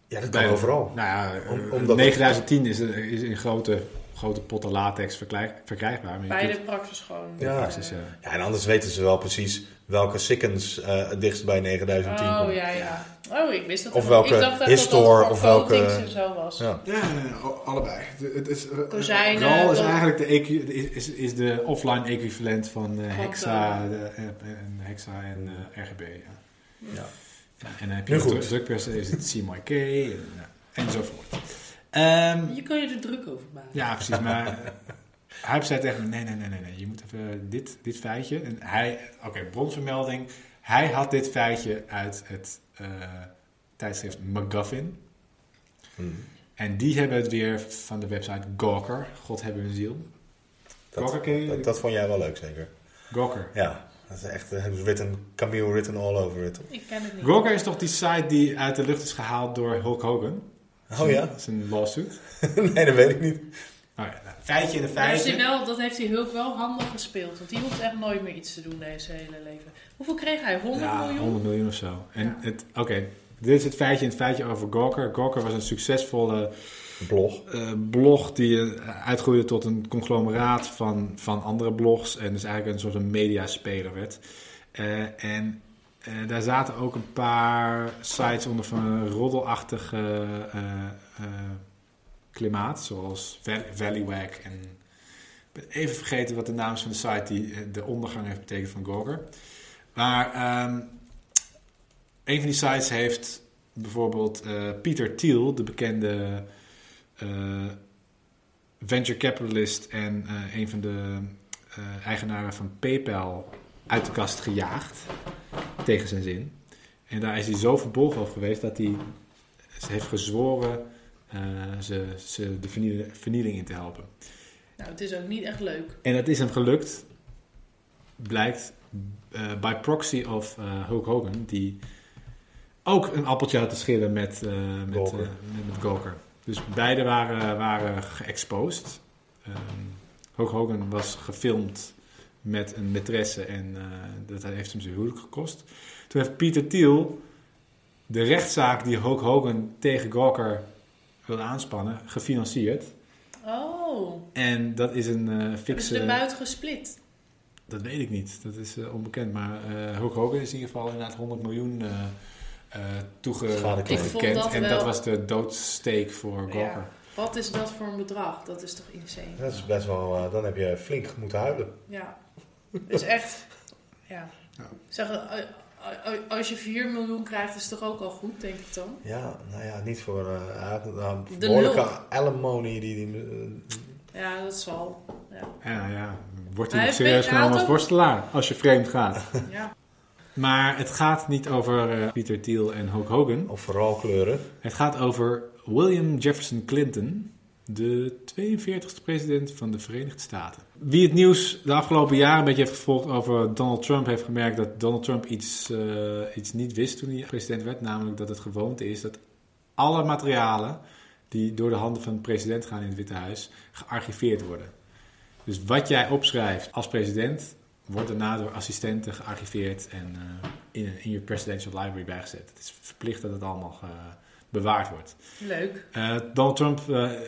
Speaker 2: Ja, dat kan
Speaker 3: Bij de-
Speaker 2: overal.
Speaker 3: Nou ja, eh,
Speaker 2: Om- omdat-
Speaker 3: 9010 is, is in grote, grote potten latex verkrijg- verkrijgbaar. maar je
Speaker 1: Bij de
Speaker 3: kunt-
Speaker 1: praxis gewoon.
Speaker 2: Ja.
Speaker 1: eh,
Speaker 3: Praxis, ja.
Speaker 2: Ja, en anders weten ze wel precies welke Sikkens eh het dichtst bij 9010 komt.
Speaker 1: Oh, ja, ja. Oh, ik wist dat.
Speaker 2: Of
Speaker 1: helemaal niet.
Speaker 2: welke
Speaker 1: ik dacht dat
Speaker 2: Histor
Speaker 1: dat voor
Speaker 2: of welke-
Speaker 1: coatings en zo was.
Speaker 2: Ja.
Speaker 3: Ja, nee, nee, allebei. De- Het is,
Speaker 1: Kozijnen,
Speaker 3: RAL is
Speaker 1: dan-
Speaker 3: eigenlijk de, equi- is, is, is de offline equivalent van eh,
Speaker 1: Van,
Speaker 3: Hexa, de- en, Hexa en eh, RGB. Ja.
Speaker 2: Ja.
Speaker 3: Ja, en dan heb
Speaker 2: Nu
Speaker 3: je
Speaker 2: goed.
Speaker 3: de drukpersen, is het CMYK en, ja, enzovoort. Ehm,
Speaker 1: Je kan je er druk over maken.
Speaker 3: ja, precies. Maar eh, hij zei tegen me, nee, nee, nee, nee, nee. Je moet even dit, dit feitje. En hij, oké, bronvermelding. Hij had dit feitje uit het eh, tijdschrift McGuffin.
Speaker 2: Mhm.
Speaker 3: En die hebben het weer van de website Gawker. God hebben hun ziel. Gawker
Speaker 2: Dat,
Speaker 3: ken je?
Speaker 2: dat, dat vond jij wel leuk, zeker?
Speaker 3: Gawker.
Speaker 2: Ja. Dat is echt eh, written, Camille written all over it.
Speaker 1: Ik ken het niet.
Speaker 3: Gawker is toch die site die uit de lucht is gehaald door Hulk Hogan?
Speaker 2: Oh ja?
Speaker 3: Dat is een lawsuit.
Speaker 2: nee, dat weet ik niet.
Speaker 3: Oh ja, nou, feitje in een
Speaker 1: Daar heeft hij
Speaker 3: feitje.
Speaker 1: wel, dat heeft hij Hulk wel handig gespeeld. Want die hoeft echt nooit meer iets te doen deze hele leven. Hoeveel kreeg hij? 100
Speaker 3: Ja,
Speaker 1: miljoen?
Speaker 3: 100 miljoen of zo. En
Speaker 1: Ja.
Speaker 3: het, oké, dit is het feitje en het feitje over Gawker. Gawker was een succesvolle
Speaker 2: Blog.
Speaker 3: eh, blog die eh, uitgroeide tot een conglomeraat van, van andere blogs. En dus eigenlijk een soort van mediaspeler werd. Eh, en eh, daar zaten ook een paar sites onder van een roddelachtig eh, eh, eh, klimaat. Zoals Val- Valleywag en... Ik ben even vergeten wat de naam is van de site die eh, de ondergang heeft betekend van Gawker. Maar ehm, een van die sites heeft bijvoorbeeld eh, Pieter Thiel, de bekende eh, venture capitalist en eh, een van de eh, eigenaren van PayPal uit de kast gejaagd. Tegen zijn zin. En daar is hij zo verbolgen over geweest dat hij ze heeft gezworen eh, ze, ze de vernieling, vernieling in te helpen.
Speaker 1: Nou, het is ook niet echt leuk.
Speaker 3: En dat is hem gelukt, blijkt eh, by proxy of eh, Hulk Hogan, die ook een appeltje had te schillen met, eh met,
Speaker 2: Gawker.
Speaker 3: eh, met, met Gawker. Dus beide waren, waren geëxposed. Ehm, Hulk Hogan was gefilmd met een maîtresse en eh, dat heeft hem zijn huwelijk gekost. Toen heeft Pieter Thiel de rechtszaak die Hulk Hogan tegen Gawker wilde aanspannen, gefinancierd.
Speaker 1: Oh,
Speaker 3: En dat is een eh
Speaker 1: hebben
Speaker 3: fikse...
Speaker 1: ze de buit gesplit?
Speaker 3: Dat weet ik niet, dat is eh, onbekend. Maar eh Hulk Hogan is in ieder geval inderdaad 100 miljoen eh eh
Speaker 2: Schade
Speaker 3: toegekend.
Speaker 2: claim.
Speaker 1: Ik vond dat
Speaker 3: en
Speaker 1: wel-
Speaker 3: dat was de doodsteek voor Gawker.
Speaker 1: Ja. Wat is dat voor een bedrag? Dat is toch insane?
Speaker 2: Dat is best wel... eh, dan heb je flink moeten huilen.
Speaker 1: Ja. Dus echt, ja.
Speaker 3: Ja.
Speaker 1: Zeg, eh, eh, als je 4 miljoen krijgt, is het toch ook al goed, denk ik dan?
Speaker 2: Ja, nou ja, niet voor... eh, hij had een eh,
Speaker 1: De
Speaker 2: behoorlijke
Speaker 1: nul.
Speaker 2: alimony die... die eh,
Speaker 1: Ja, dat zal. Ja.
Speaker 3: Ja, ja. Wordt
Speaker 1: Hij
Speaker 3: hij nog
Speaker 1: heeft-
Speaker 3: serieus
Speaker 1: hij
Speaker 3: genomen
Speaker 1: had
Speaker 3: als
Speaker 1: ook-
Speaker 3: worstelaar als je vreemd gaat?
Speaker 1: ja.
Speaker 3: maar het gaat niet over eh, Pieter Thiel en Hulk Hogan.
Speaker 2: of vooral kleuren.
Speaker 3: Het gaat over William Jefferson Clinton, de 42e president van de Verenigde Staten. Wie het nieuws de afgelopen jaren een beetje heeft gevolgd over Donald Trump, heeft gemerkt dat Donald Trump iets, eh, iets niet wist toen hij president werd. Namelijk dat het gewoonte is dat alle materialen die door de handen van de president gaan in het Witte Huis, gearchiveerd worden. Dus wat jij opschrijft als president, wordt daarna door assistenten gearchiveerd en eh, in, in je presidential library bijgezet. Het is verplicht dat het allemaal eh, bewaard wordt.
Speaker 1: Leuk.
Speaker 3: Eh, Donald Trump, eh, eh,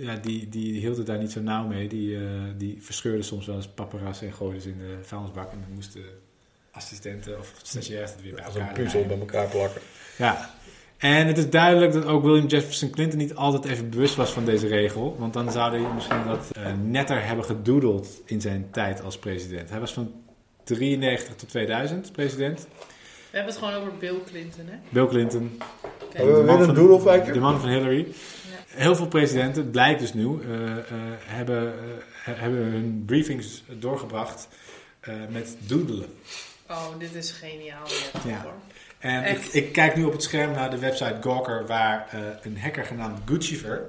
Speaker 3: ja, die, die hield het daar niet zo nauw mee. Die, eh, die verscheurde soms wel eens paparazzen en gooide ze in de vuilnisbak. En dan moesten assistenten of stagiairs het weer bij
Speaker 2: Als een
Speaker 3: elkaar
Speaker 2: puzzel
Speaker 3: rijmen.
Speaker 2: bij elkaar plakken.
Speaker 3: Ja. En het is duidelijk dat ook William Jefferson Clinton niet altijd even bewust was van deze regel. Want dan zou hij misschien dat eh, netter hebben gedoedeld in zijn tijd als president. Hij was van 93 tot 2000 president.
Speaker 1: We hebben het gewoon over Bill Clinton, hè?
Speaker 3: Bill Clinton,
Speaker 1: Oké.
Speaker 2: Hebben we
Speaker 3: De man
Speaker 2: weer een
Speaker 3: van-
Speaker 2: doedelfijker?
Speaker 3: De man van Hillary. Heel veel presidenten, blijkt dus nu, eh, eh, hebben, eh, he- hebben hun briefings doorgebracht eh, met doodelen.
Speaker 1: Oh, dit is geniaal. weer,
Speaker 3: Ja.
Speaker 1: hoor.
Speaker 3: En ik,
Speaker 1: Echt?
Speaker 3: ik kijk nu op het scherm naar de website Gawker, waar eh, een hacker genaamd Guccifer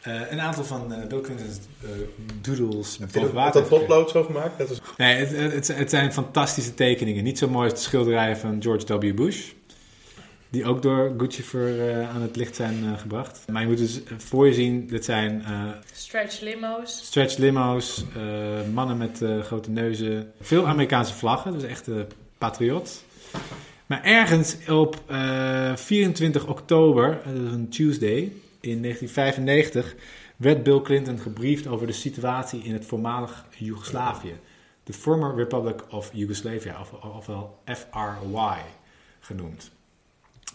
Speaker 3: eh, een aantal van eh, Bill Clinton's eh,
Speaker 2: Heb
Speaker 3: doodles
Speaker 2: je
Speaker 3: boven
Speaker 2: dat,
Speaker 3: water
Speaker 2: dat
Speaker 3: heeft gekregen.
Speaker 2: potlood zo gemaakt? Dat is,
Speaker 3: Nee, het, het- het, zijn- het zijn fantastische tekeningen. Niet zo mooi als de schilderij van George W. Bush. Die ook door Gucci voor eh, aan het licht zijn eh, gebracht. Maar je moet dus voor je zien, dit zijn eh,
Speaker 1: Stretch limo's.
Speaker 3: stretch limo's, eh, mannen met eh, grote neuzen. Veel Amerikaanse vlaggen, dus echt eh, patriot. Maar ergens op eh, 24 oktober, eh, dat is een Tuesday, in 1995 werd Bill Clinton gebriefd over de situatie in het voormalig Joegoslavië. De former Republic of Yugoslavia, of, ofwel FRY genoemd.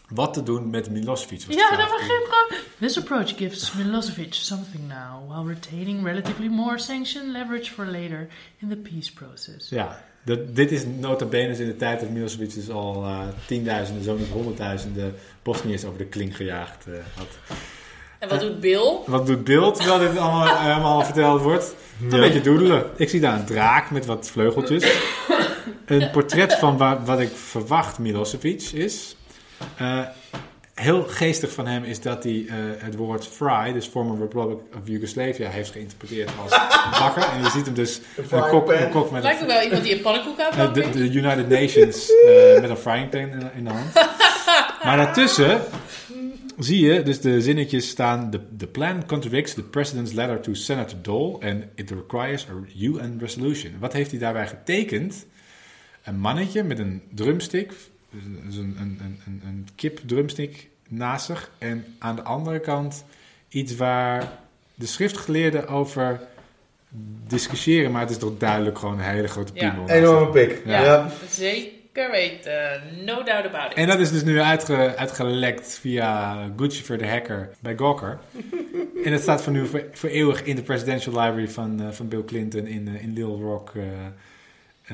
Speaker 3: Wat te doen met Milosevic was de
Speaker 1: Ja,
Speaker 3: vraag
Speaker 1: dat was
Speaker 3: die-
Speaker 1: geen probleem. This approach gives Milosevic something now, while retaining relatively more sanction leverage for later in the peace process.
Speaker 3: Ja, dat, dit is nota bene in de tijd dat Milosevic dus al eh, tienduizenden, zo niet honderdduizenden Bosniërs over de kling gejaagd eh, had.
Speaker 1: En wat doet Bill?
Speaker 3: Wat doet Bill terwijl dit allemaal, allemaal verteld wordt? Een beetje doedelen. Ik zie daar een draak met wat vleugeltjes. Een portret van wa- wat ik verwacht Milosevic is. Eh, heel geestig van hem is dat hij eh, het woord fry, dus former Republic of Yugoslavia, heeft geïnterpreteerd als bakker. En je ziet hem dus een
Speaker 2: frying
Speaker 3: kok,
Speaker 2: pan.
Speaker 3: een kok met een
Speaker 1: Lijkt me wel iemand die een pannenkoek
Speaker 3: eh,
Speaker 1: aanpakt.
Speaker 3: de, de United Nations eh, met een frying pan in, in de hand. Maar daartussen zie je dus de zinnetjes staan: The, the plan contradicts the president's letter to Senator Dole and it requires a UN resolution. Wat heeft hij daarbij getekend? Een mannetje met een drumstick, dus een, een, een, een, een kipdrumstick naast zich. En aan de andere kant iets waar de schriftgeleerden over discussiëren, maar het is toch duidelijk gewoon een hele grote
Speaker 1: Ja.
Speaker 3: piemel. naast
Speaker 2: enorme
Speaker 3: hem.
Speaker 2: pik.
Speaker 1: ja.
Speaker 2: Ja.
Speaker 1: Zeker weten. No doubt about it.
Speaker 3: En dat is dus nu uitge, uitgelekt via Gucci voor de hacker bij Gawker. en dat staat voor nu voor, voor eeuwig in de presidential library van, eh, van Bill Clinton in, eh, in Little Rock eh,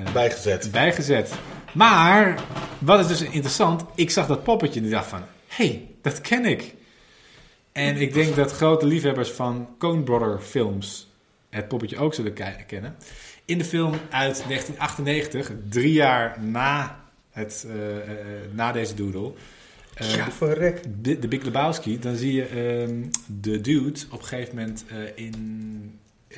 Speaker 3: eh,
Speaker 2: Bijgezet.
Speaker 3: bijgezet. Maar, wat is dus interessant, ik zag dat poppetje en ik dacht van, hé, hey, dat ken ik. En ik denk dat grote liefhebbers van Coen Brother films het poppetje ook zullen ke- kennen. In de film uit 1998, drie jaar na, het, eh, eh, na deze doodle, eh,
Speaker 2: Ja, verrek.
Speaker 3: de, de Big Lebowski, dan zie je ehm, de dude op een gegeven moment eh, in eh,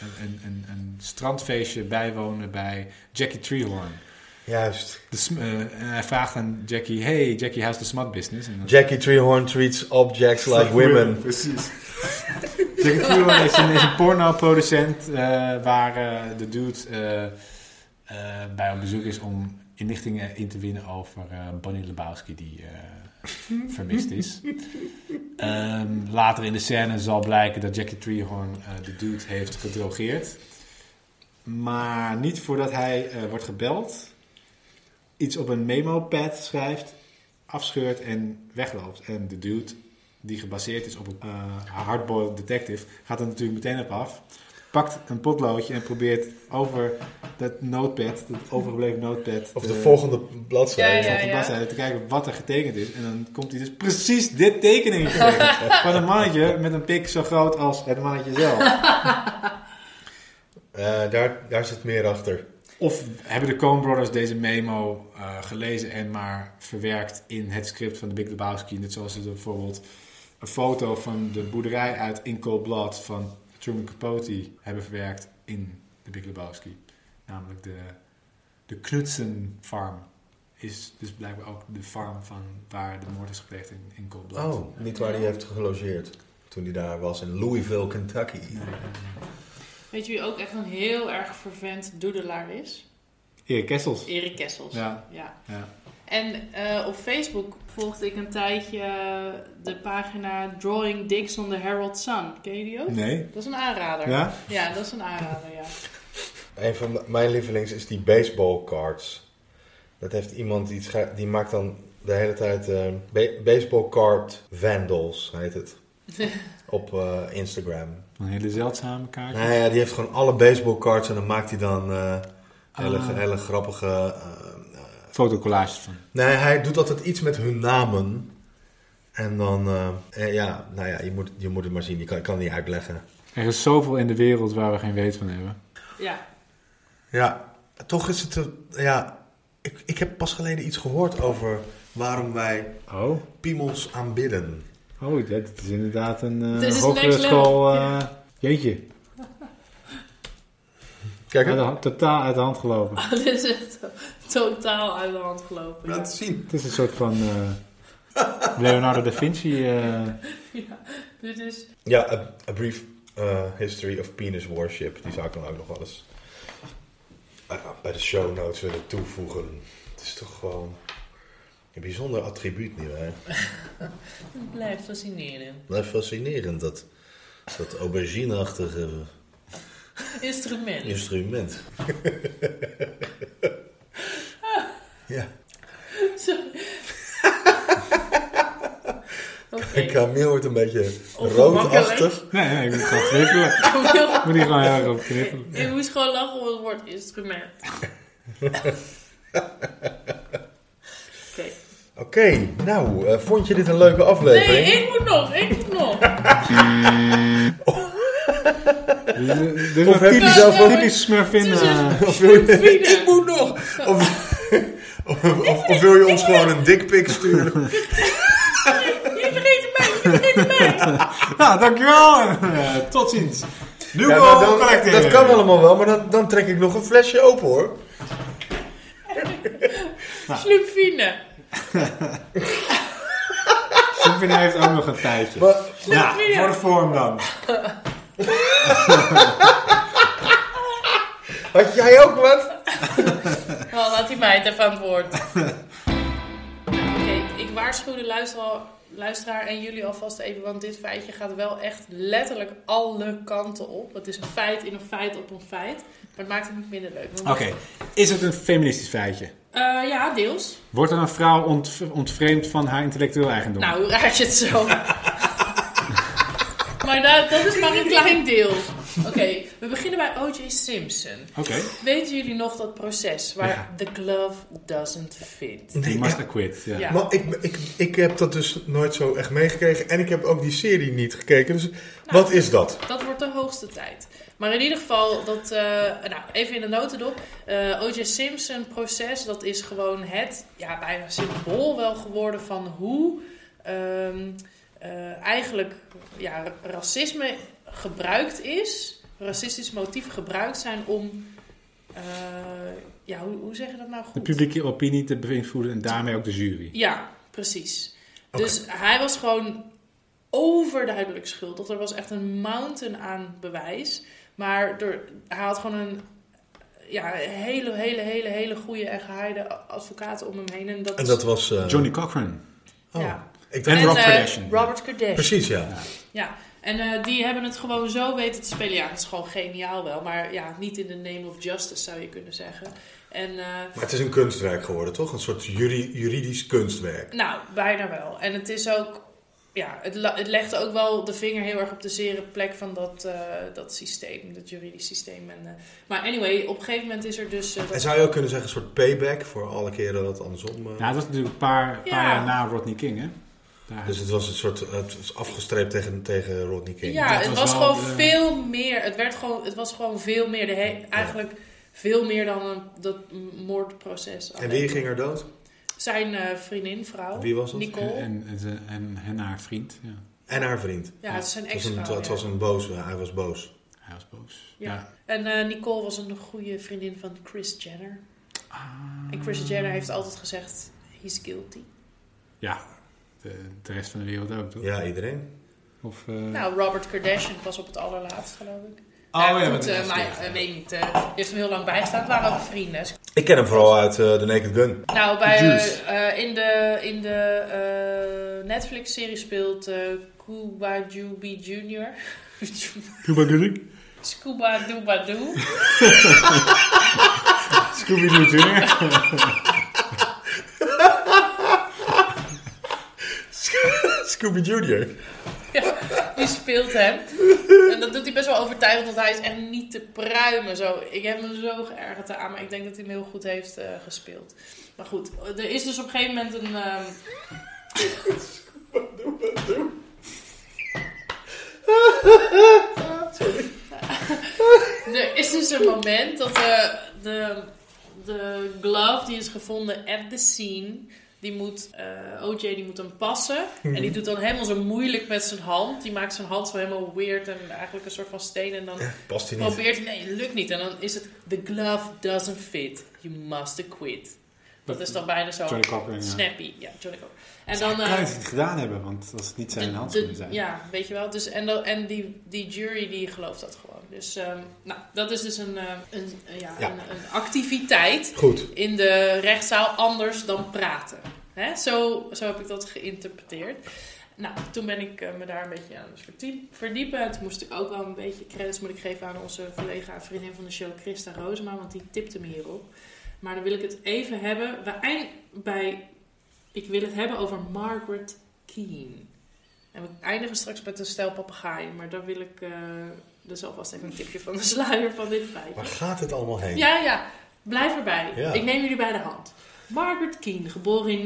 Speaker 3: een, een, een, een strandfeestje bijwonen bij Jackie Treehorn.
Speaker 2: Juist.
Speaker 3: De sm- eh, en hij vraagt aan Jackie, hey Jackie, how's the smut business? En dan-
Speaker 2: Jackie Treehorn treats objects like women.
Speaker 3: Precies. Jackie Treehorn is een, is een pornoproducent eh, waar eh, de dude eh, eh, bij op bezoek is om inlichtingen in te winnen over eh, Bonnie Lebowski die eh, vermist is. Ehm, later in de scène zal blijken dat Jackie Treehorn eh, de dude heeft gedrogeerd. Maar niet voordat hij eh, wordt gebeld, iets op een memo-pad schrijft, afscheurt en wegloopt. En de dude, die gebaseerd is op een eh, hardboiled detective, gaat er natuurlijk meteen op af. Pakt een potloodje en probeert over dat notepad, dat overgebleven notepad...
Speaker 2: Of de
Speaker 3: eh,
Speaker 2: volgende bladzijde.
Speaker 1: Ja, ja.
Speaker 3: op de bladzijde te kijken wat er getekend is. En dan komt hij dus precies dit tekening tegen. Van een mannetje met een pik zo groot als het mannetje zelf.
Speaker 2: Eh, daar, daar zit meer achter.
Speaker 3: Of hebben de Coen Brothers deze memo eh, gelezen en maar verwerkt in het script van de Big Lebowski. Net zoals ze er bijvoorbeeld een foto van de boerderij uit In Cold Blood van Truman Capote hebben verwerkt in de Big Lebowski. Namelijk de, de Knudsen Farm is dus blijkbaar ook de farm van waar de moord is gepleegd in, in Cold Blood.
Speaker 2: Oh, niet waar hij heeft gelogeerd toen hij daar was in Louisville, Kentucky.
Speaker 3: Nee, nee, nee.
Speaker 1: Weet je wie ook echt een heel erg vervent doedelaar is?
Speaker 3: Erik Kessels.
Speaker 1: Erik Kessels.
Speaker 3: Ja.
Speaker 1: ja.
Speaker 3: Ja.
Speaker 1: En eh, op Facebook volgde ik een tijdje de pagina Drawing Dicks on the Herald Sun. Ken je die ook?
Speaker 3: Nee?
Speaker 1: Dat is een aanrader.
Speaker 3: Ja?
Speaker 1: Ja, dat is een aanrader, ja.
Speaker 2: Een van m- mijn lievelings is die baseballcards. Dat heeft iemand die, scha- die maakt dan de hele tijd eh, ba- baseballcard vandals, heet het. Op eh, Instagram.
Speaker 3: Een hele zeldzame kaart.
Speaker 2: Nou ja, die heeft gewoon alle baseballcards en dan maakt hij dan eh, hele,
Speaker 3: Ah.
Speaker 2: hele grappige... eh, eh,
Speaker 3: Fotocollages van.
Speaker 2: Nee, hij doet altijd iets met hun namen. En dan, eh, eh, ja, nou ja, je moet, je moet het maar zien. Je kan, ik kan het niet uitleggen.
Speaker 3: Er is zoveel in de wereld waar we geen weet van hebben.
Speaker 1: Ja,
Speaker 2: Ja, toch is het, een- ja, ik, ik heb pas geleden iets gehoord over waarom wij
Speaker 3: Oh,
Speaker 2: piemels aanbidden.
Speaker 3: oh dat is inderdaad een eh,
Speaker 1: Dit is
Speaker 3: hogere
Speaker 1: next level.
Speaker 3: school. eh,
Speaker 1: Ja.
Speaker 3: Jeetje,
Speaker 2: Kijk,
Speaker 3: uit de
Speaker 2: hè?
Speaker 3: hand- totaal uit de hand gelopen.
Speaker 1: dit is echt totaal uit de hand gelopen. ja.
Speaker 2: laat het zien.
Speaker 3: Het is een soort van eh, Leonardo da Vinci. eh,
Speaker 1: Ja, dit is...
Speaker 2: Ja, A, A Brief eh, History of Penis Worship. Die zou ik dan ook nog wel eens eh, bij de show notes willen toevoegen. Het is toch gewoon een bijzonder attribuut, nietwaar?
Speaker 1: Het blijft fascineren.
Speaker 2: Blijft fascinerend, dat, dat aubergineachtige
Speaker 1: Instrument.
Speaker 2: instrument. ja,
Speaker 1: Oké.
Speaker 2: en Camille wordt een beetje
Speaker 1: Ongemakkelijk.
Speaker 2: roodachtig.
Speaker 3: Nee, nee, ik moet gewoon knippelen. Ik
Speaker 2: eh,
Speaker 3: moet hier gewoon heel erg op knippelen.
Speaker 1: Ik moest gewoon lachen om het woord instrument. Oké.
Speaker 2: Oké, nou, eh, vond je dit een leuke
Speaker 1: Nee,
Speaker 2: aflevering?
Speaker 1: ik moet nog, ik moet nog.
Speaker 3: Dit is- dit is
Speaker 2: Of
Speaker 3: een
Speaker 2: heb je
Speaker 3: typisch,
Speaker 2: zelf ook-
Speaker 3: typisch smurfin.
Speaker 1: Dit is een-
Speaker 3: eh,
Speaker 2: Of wil je-
Speaker 1: Vrienden.
Speaker 2: ik moet nog! Of, of, of, of wil je ons gewoon een dikpik sturen?
Speaker 1: Jullie vergeten mij, jullie vergeten mij.
Speaker 3: Nou, dankjewel. Eh, tot ziens. Nu
Speaker 2: Ja, maar dan- dat kan allemaal wel, maar dan, dan trek ik nog een flesje open hoor. Nou.
Speaker 1: Slupfine.
Speaker 3: Smurfin heeft ook nog een tijdje.
Speaker 2: Maar
Speaker 3: Ja,
Speaker 1: Slupfine.
Speaker 3: voor de vorm dan.
Speaker 2: had jij ook wat?
Speaker 1: Oh, laat die meid even aan het woord. Oké, ik waarschuw de luisteraar, luisteraar en jullie alvast even, want dit feitje gaat wel echt letterlijk alle kanten op. Het is een feit in een feit op een feit, maar het maakt het niet minder leuk.
Speaker 3: Oké, is het een feministisch feitje?
Speaker 1: Eh, ja, deels.
Speaker 3: Wordt er een vrouw ont- ontvreemd van haar intellectueel eigendom?
Speaker 1: Nou, hoe raad je het zo? maar dat, dat is maar een klein deel. Oké, we beginnen bij O.J. Simpson.
Speaker 3: Oké,
Speaker 1: Weten jullie nog dat proces waar
Speaker 3: Ja.
Speaker 1: the glove doesn't fit?
Speaker 3: die
Speaker 2: Nee,
Speaker 3: must acquit. Ja.
Speaker 1: Ja.
Speaker 2: Maar ik, ik, ik heb dat dus nooit zo echt meegekregen. En ik heb ook die serie niet gekeken. Dus wat is dat?
Speaker 1: Dat wordt de hoogste tijd. Maar in ieder geval, dat, eh, nou, even in de notendop. eh O.J. Simpson proces, dat is gewoon het ja, bijna symbool wel geworden van hoe ehm, eh, eigenlijk ja, ra- racisme gebruikt is. Racistische motieven gebruikt zijn om... eh, ja, hoe, hoe zeg je dat nou goed?
Speaker 3: De publieke opinie te beïnvloeden en daarmee ook de jury.
Speaker 1: Ja, precies.
Speaker 2: Oké.
Speaker 1: Dus hij was gewoon overduidelijk schuldig. Er was echt een mountain aan bewijs. Maar door, hij had gewoon een ja, hele, hele, hele, hele goede en gehaaide advocaten om hem heen. En dat,
Speaker 2: En
Speaker 1: is-
Speaker 2: dat was... eh,
Speaker 3: Johnny Cochran. Nou,
Speaker 2: oh,
Speaker 1: ja.
Speaker 2: ik
Speaker 3: En
Speaker 2: dacht,
Speaker 3: Rob
Speaker 1: eh,
Speaker 3: Kardashian.
Speaker 1: Robert Kardashian.
Speaker 2: precies, ja.
Speaker 1: Ja, en eh, die hebben het gewoon zo weten te spelen. Ja, dat is gewoon geniaal wel. Maar ja, niet in the name of justice zou je kunnen zeggen. En... eh,
Speaker 2: Maar het is een kunstwerk geworden, toch? Een soort juri- juridisch kunstwerk.
Speaker 1: Nou, bijna wel. En het is ook. Ja, het, la- het legt ook wel de vinger heel erg op de zere plek van dat, eh, dat systeem, dat juridisch systeem. En, eh, maar anyway, op een gegeven moment is er dus. eh, dat-
Speaker 2: En zou je ook kunnen zeggen, een soort payback voor alle keren dat andersom... eh,
Speaker 3: Ja, dat was natuurlijk een paar, paar
Speaker 1: Ja.
Speaker 3: jaar na Rodney King, hè? Daar-
Speaker 2: Dus het was een soort... Het was afgestreept tegen, tegen Rodney King.
Speaker 1: ja,
Speaker 3: dat
Speaker 1: het
Speaker 3: was
Speaker 1: was,
Speaker 3: wel
Speaker 1: gewoon
Speaker 2: eh,
Speaker 3: de-
Speaker 1: veel meer. Het, werd gewoon, het was gewoon veel meer. De he- eigenlijk veel meer dan een, dat m- moordproces.
Speaker 2: En wie ging er dood?
Speaker 1: Zijn eh, vriendin, vrouw.
Speaker 2: Wie was dat?
Speaker 1: Nicole.
Speaker 3: En, en, en, en haar vriend. Ja.
Speaker 2: En haar vriend.
Speaker 1: Ja, het is zijn
Speaker 2: Het was een,
Speaker 1: ex-vrouw.
Speaker 2: het
Speaker 1: ja.
Speaker 2: was een boze, hij was boos.
Speaker 3: Hij was boos.
Speaker 1: Ja. En eh, Nicole was een goede vriendin van Chris Jenner.
Speaker 3: Ah.
Speaker 1: En Chris Jenner heeft altijd gezegd, he's guilty.
Speaker 3: Ja, de, de rest van de wereld ook, toch?
Speaker 2: Ja, iedereen.
Speaker 3: Of, eh,
Speaker 1: Nou, Robert Kardashian was op het allerlaatst, geloof ik.
Speaker 3: oh ja,
Speaker 1: goed,
Speaker 3: met de
Speaker 1: eh,
Speaker 3: rest
Speaker 1: maar
Speaker 3: weer.
Speaker 1: eh, weet niet. eh, die heeft hem heel lang bijgestaan. Het waren ook vrienden.
Speaker 2: Ik ken hem vooral uit eh The Naked Gun.
Speaker 1: Nou, bij, eh,
Speaker 3: Juice.
Speaker 1: eh, in de, in de eh, Netflix-serie speelt eh Cuba Juby Jr.
Speaker 3: Cuba Gooding.
Speaker 1: Scuba Dooba Doo.
Speaker 3: Scooby-Doo Junior.
Speaker 2: Scooby Junior.
Speaker 1: Ja, die speelt hem. En dat doet hij best wel overtuigend, want hij is echt niet te pruimen. Zo. Ik heb me zo geërgerd aan, maar ik denk dat hij hem heel goed heeft eh, gespeeld. Maar goed, er is dus op een gegeven moment een... ehm, er is dus een moment dat eh, de, de glove die is gevonden at the scene, die moet, eh, OJ die moet hem passen. En die
Speaker 3: Hmm.
Speaker 1: doet dan helemaal zo moeilijk met zijn hand. Die maakt zijn hand zo helemaal weird en eigenlijk een soort van steen. En dan
Speaker 2: Past hij niet.
Speaker 1: probeert hij, nee, het lukt niet. En dan is het, the glove doesn't fit, you must quit. Dat is dan bijna zo
Speaker 3: Johnny Cochran, ja.
Speaker 1: snappy. Ja, Johnny Cochran. En
Speaker 3: Dan
Speaker 1: dan...
Speaker 3: kan
Speaker 1: eh,
Speaker 3: hij het niet gedaan hebben, want als het niet zijn
Speaker 1: de-
Speaker 3: hand
Speaker 1: de-
Speaker 3: zou zijn.
Speaker 1: Ja, weet je wel. Dus, en dan- en die, die jury die gelooft dat gewoon. Dus ehm, nou, dat is dus een, eh, een, eh, ja,
Speaker 2: Ja.
Speaker 1: Een, een activiteit
Speaker 2: Goed.
Speaker 1: in de rechtszaal anders dan praten. Hè? Zo, zo heb ik dat geïnterpreteerd. Nou, toen ben ik eh, me daar een beetje aan het verdie- verdiepen. En toen moest ik ook wel een beetje credits moet ik geven aan onze collega en vriendin van de show, Christa Roosma, want die tipte me hierop. Maar dan wil ik het even hebben. We eind bij. Ik wil het hebben over Margaret Keane. En we eindigen straks met een stel papegaaien, maar daar wil ik. eh dus alvast even een tipje van de sluier van dit feitje.
Speaker 2: Waar gaat het allemaal heen?
Speaker 1: Ja, ja. Blijf erbij.
Speaker 2: Ja.
Speaker 1: Ik neem jullie bij de hand. Margaret Keane, geboren in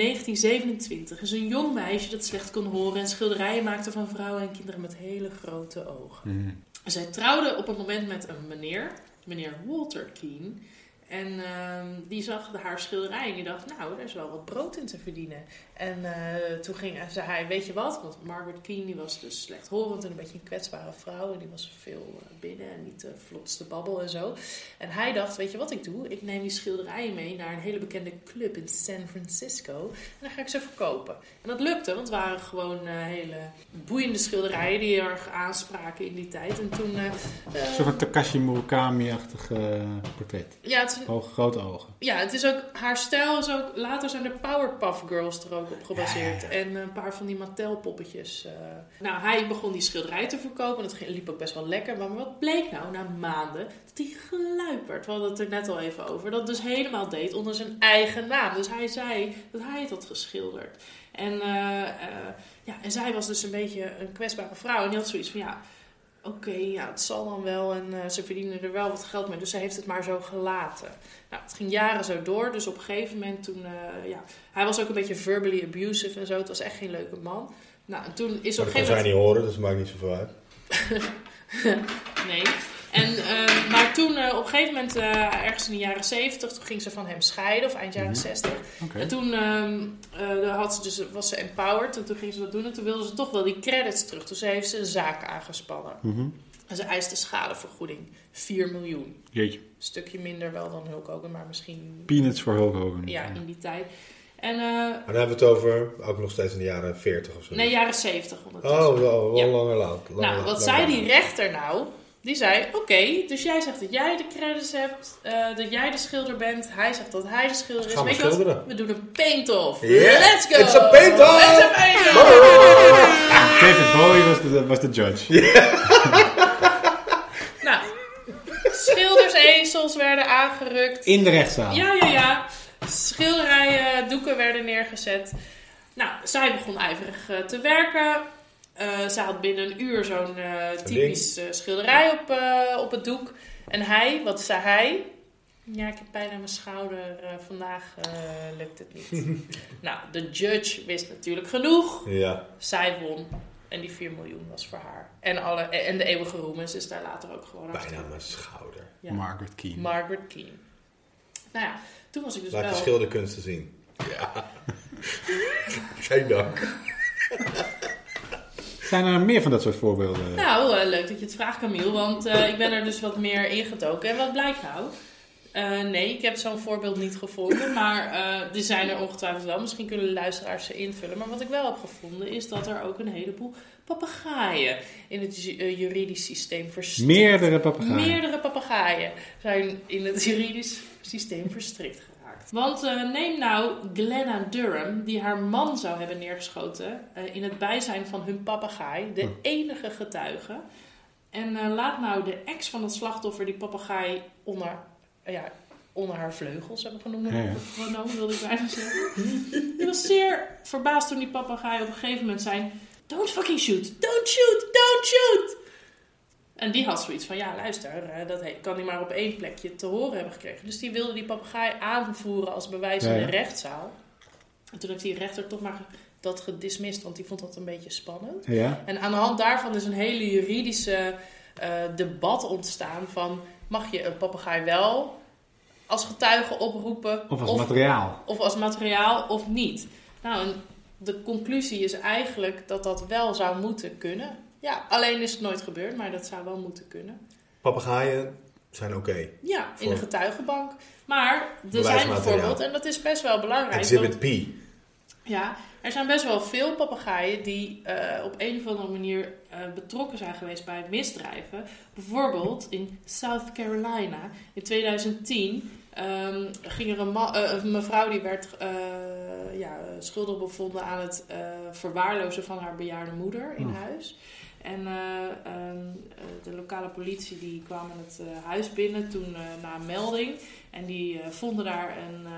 Speaker 1: 1927, is een jong meisje dat slecht kon horen en schilderijen maakte van vrouwen en kinderen met hele grote ogen.
Speaker 3: Mhm.
Speaker 1: Zij trouwde op een moment met een meneer, meneer Walter Keane. En ehm, die zag de- haar schilderij en die dacht, nou, er is wel wat brood in te verdienen. En eh, toen ging, en zei hij, weet je wat, want Margaret Keane die was dus slechthorend en een beetje een kwetsbare vrouw. En die was veel eh, binnen en niet de vlotste babbel en zo. En hij dacht, weet je wat ik doe? Ik neem die schilderijen mee naar een hele bekende club in San Francisco. En dan ga ik ze verkopen. En dat lukte, want het waren gewoon eh, hele boeiende schilderijen die erg aanspraken in die tijd. En toen... eh,
Speaker 3: Een
Speaker 1: eh,
Speaker 3: soort van Takashi Murakami-achtig eh, portret.
Speaker 1: ja, het is een
Speaker 3: Hoge, grote ogen.
Speaker 1: ja, het is ook haar stijl is ook. Later zijn de Powerpuff Girls er ook op gebaseerd.
Speaker 3: Ja,
Speaker 1: En een paar van die Mattel poppetjes. eh. Nou, hij begon die schilderij te verkopen. Dat ging- liep ook best wel lekker. Maar wat bleek nou na maanden? Dat hij geluiperd. We hadden het er net al even over. Dat dus helemaal deed onder zijn eigen naam. Dus hij zei dat hij het had geschilderd. En, eh, eh, ja, en zij was dus een beetje een kwetsbare vrouw. En die had zoiets van ja. Oké, ja, het zal dan wel. En eh, ze verdienen er wel wat geld mee. Dus ze heeft het maar zo gelaten. Nou, het ging jaren zo door. Dus op een gegeven moment toen... eh, ja, hij was ook een beetje verbally abusive en zo. Het was echt geen leuke man. Nou, en toen is op
Speaker 2: Dat
Speaker 1: een
Speaker 2: kan
Speaker 1: gegeven
Speaker 2: zij
Speaker 1: moment...
Speaker 2: niet horen, dus het maakt niet zoveel uit.
Speaker 1: Nee. En, eh, maar toen eh, op een gegeven moment, eh, ergens in de jaren 70, toen ging ze van hem scheiden. Of eind jaren
Speaker 3: Mhm.
Speaker 1: 60.
Speaker 3: Oké.
Speaker 1: En toen ehm, eh, daar had ze dus, was ze empowered. En toen ging ze dat doen. En toen wilde ze toch wel die credits terug. Dus heeft ze een zaak aangespannen.
Speaker 3: Mhm.
Speaker 1: En ze eiste schadevergoeding. 4 miljoen.
Speaker 3: Jeetje.
Speaker 1: stukje minder wel dan Hulk Hogan, maar misschien
Speaker 3: Peanuts voor Hulk Hogan.
Speaker 1: ja, in die tijd. En eh
Speaker 2: Maar dan hebben we het over, ook nog steeds in de jaren 40 of zo.
Speaker 1: nee, jaren 70 ondertussen.
Speaker 2: Oh, wel, wel
Speaker 1: Ja.
Speaker 2: langer laat. langer-
Speaker 1: nou, wat
Speaker 2: langer
Speaker 1: zei
Speaker 2: laat.
Speaker 1: die rechter nou? Die zei, oké, dus jij zegt dat jij de credits hebt, eh, dat jij de schilder bent. Hij zegt dat hij de schilder is.
Speaker 2: Gaan we
Speaker 1: Weet je wat?
Speaker 2: schilderen.
Speaker 1: We doen een paint-off.
Speaker 2: Yeah,
Speaker 1: Let's go!
Speaker 2: it's a paint-off!
Speaker 1: It's a paint-off!
Speaker 3: David Bowie was de, was de judge.
Speaker 1: Nou, schildersezels werden aangerukt.
Speaker 3: In de rechtszaal.
Speaker 1: Ja, ja, ja. Schilderijen, doeken werden neergezet. Nou, zij begon ijverig eh, te werken. Eh zij had binnen een uur zo'n eh, typisch eh, schilderij op, eh, op het doek. En hij, wat zei hij? Ja, ik heb pijn aan mijn schouder. eh, vandaag eh, lukt het niet. nou, de judge wist natuurlijk genoeg.
Speaker 2: Ja,
Speaker 1: Zij won. En die 4 miljoen was voor haar. En, alle, en de eeuwige roem is dus daar later ook gewoon
Speaker 2: bijna
Speaker 1: achter.
Speaker 2: mijn schouder.
Speaker 1: Ja.
Speaker 3: Margaret Keane.
Speaker 1: Margaret Keane. Nou ja, toen was ik dus
Speaker 2: Laat je
Speaker 1: wel...
Speaker 2: schilderkunsten zien. Ja. Geen dank.
Speaker 3: Zijn er meer van dat soort voorbeelden?
Speaker 1: Nou, eh, leuk dat je het vraagt, Camille, want eh, ik ben er dus wat meer ingetoken. En wat blijkt nou? Eh, nee, ik heb zo'n voorbeeld niet gevonden, maar eh die zijn er ongetwijfeld wel. Misschien kunnen de luisteraars ze invullen. Maar wat ik wel heb gevonden is dat er ook een heleboel papegaaien in het ju- eh, juridisch systeem verstrikt.
Speaker 3: Meerdere papegaaien.
Speaker 1: Meerdere papegaaien zijn in het juridisch systeem verstrikt geraakt. Want eh, neem nou Glenna Durham, die haar man zou hebben neergeschoten eh, in het bijzijn van hun papegaai,
Speaker 3: Hm.
Speaker 1: de enige getuige. En eh, laat nou de ex van het slachtoffer die papegaai onder, eh, ja, onder haar vleugels hebben genoemd.
Speaker 3: Ja, ja.
Speaker 1: Genomen, wilde ik bijna zeggen. Die was zeer verbaasd toen die papegaai op een gegeven moment zei: Don't fucking shoot, don't shoot, don't shoot. En die had zoiets van, ja luister, eh, dat he- kan hij maar op één plekje te horen hebben gekregen. Dus die wilde die papegaai aanvoeren als bewijs
Speaker 3: Ja,
Speaker 1: in
Speaker 3: ja.
Speaker 1: de rechtszaal. En toen heeft die rechter toch maar ge- dat gedismist, want die vond dat een beetje spannend.
Speaker 3: Ja.
Speaker 1: En aan de hand daarvan is een hele juridische eh, debat ontstaan van... mag je een papegaai wel als getuige oproepen
Speaker 3: Of als materiaal.
Speaker 1: of als materiaal of niet. Nou, en de conclusie is eigenlijk dat dat wel zou moeten kunnen. Ja, alleen is het nooit gebeurd, maar dat zou wel moeten kunnen.
Speaker 2: Papegaaien zijn oké.
Speaker 1: Ja, in de
Speaker 2: Voor-
Speaker 1: getuigenbank. Maar er zijn
Speaker 2: Bewijsmateriaal.
Speaker 1: bijvoorbeeld, en dat is best wel belangrijk.
Speaker 2: Exhibit
Speaker 1: want-
Speaker 2: P.
Speaker 1: ja, er zijn best wel veel papegaaien die eh, op een of andere manier eh, betrokken zijn geweest bij misdrijven. Bijvoorbeeld in South Carolina in 2010 ehm, ging er een, ma- eh, een mevrouw die werd eh, ja, schuldig bevonden aan het eh, verwaarlozen van haar bejaarde moeder in
Speaker 3: Oh.
Speaker 1: huis. En eh, ehm, eh, de lokale politie die kwam in het eh, huis binnen toen eh, na een melding. En die eh, vonden daar een eh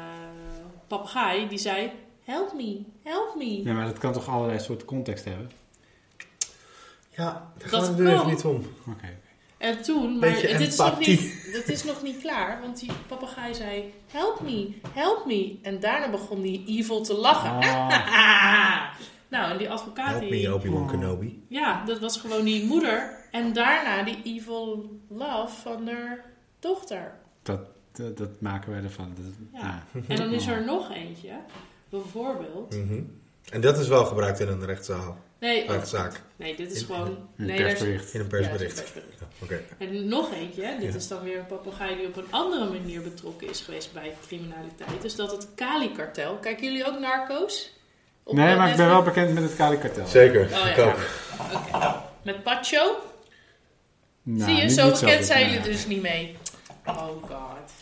Speaker 1: papegaai die zei: Help me, help me.
Speaker 3: Ja, maar dat kan toch allerlei soorten context hebben?
Speaker 2: Ja, daar
Speaker 1: Dat
Speaker 2: gaat het er even
Speaker 1: kan.
Speaker 2: niet om.
Speaker 3: Oké.
Speaker 1: En toen, maar
Speaker 2: Beetje
Speaker 1: dit is, nog
Speaker 2: empathie.
Speaker 1: niet, dit is nog niet klaar, want die papegaai zei: Help me, help me. En daarna begon die evil te lachen.
Speaker 3: Ah,
Speaker 1: nou, en die advocaat.
Speaker 2: Help
Speaker 1: die,
Speaker 2: me, Obi-Wan
Speaker 3: Oh.
Speaker 2: Kenobi.
Speaker 1: Ja, dat was gewoon die moeder. En daarna die evil love van haar dochter.
Speaker 3: dat, dat, dat maken wij ervan. Dat-
Speaker 1: Ja.
Speaker 3: ja.
Speaker 1: En dan is er nog eentje, bijvoorbeeld.
Speaker 2: Mhm. En dat is wel gebruikt in een rechtszaal.
Speaker 1: Nee, oh,
Speaker 2: Rechtszaak.
Speaker 1: nee dit is
Speaker 2: In-
Speaker 1: gewoon.
Speaker 3: Een
Speaker 1: Nee, daar is-
Speaker 3: persbericht.
Speaker 2: In een
Speaker 1: ja, het is een
Speaker 2: persbericht.
Speaker 1: persbericht.
Speaker 2: Ja, Oké.
Speaker 1: En nog eentje, hè. dit
Speaker 2: Ja.
Speaker 1: is dan weer een papegaai die op een andere manier betrokken is geweest bij criminaliteit. Dus dat het Kali-kartel. Kijken jullie ook narco's? Op,
Speaker 3: Nee,
Speaker 1: eh,
Speaker 3: maar ik ben wel
Speaker 1: Netflix?
Speaker 3: bekend met het Kali-kartel.
Speaker 2: Zeker,
Speaker 1: Oh,
Speaker 2: ik
Speaker 1: ja.
Speaker 2: ook.
Speaker 1: Oké. Met Pacho?
Speaker 3: Nou,
Speaker 1: Zie je,
Speaker 3: niet-
Speaker 1: zo
Speaker 3: niet
Speaker 1: bekend
Speaker 3: goed,
Speaker 1: zijn
Speaker 3: nou
Speaker 1: jullie
Speaker 3: ja.
Speaker 1: dus niet mee. Oh god.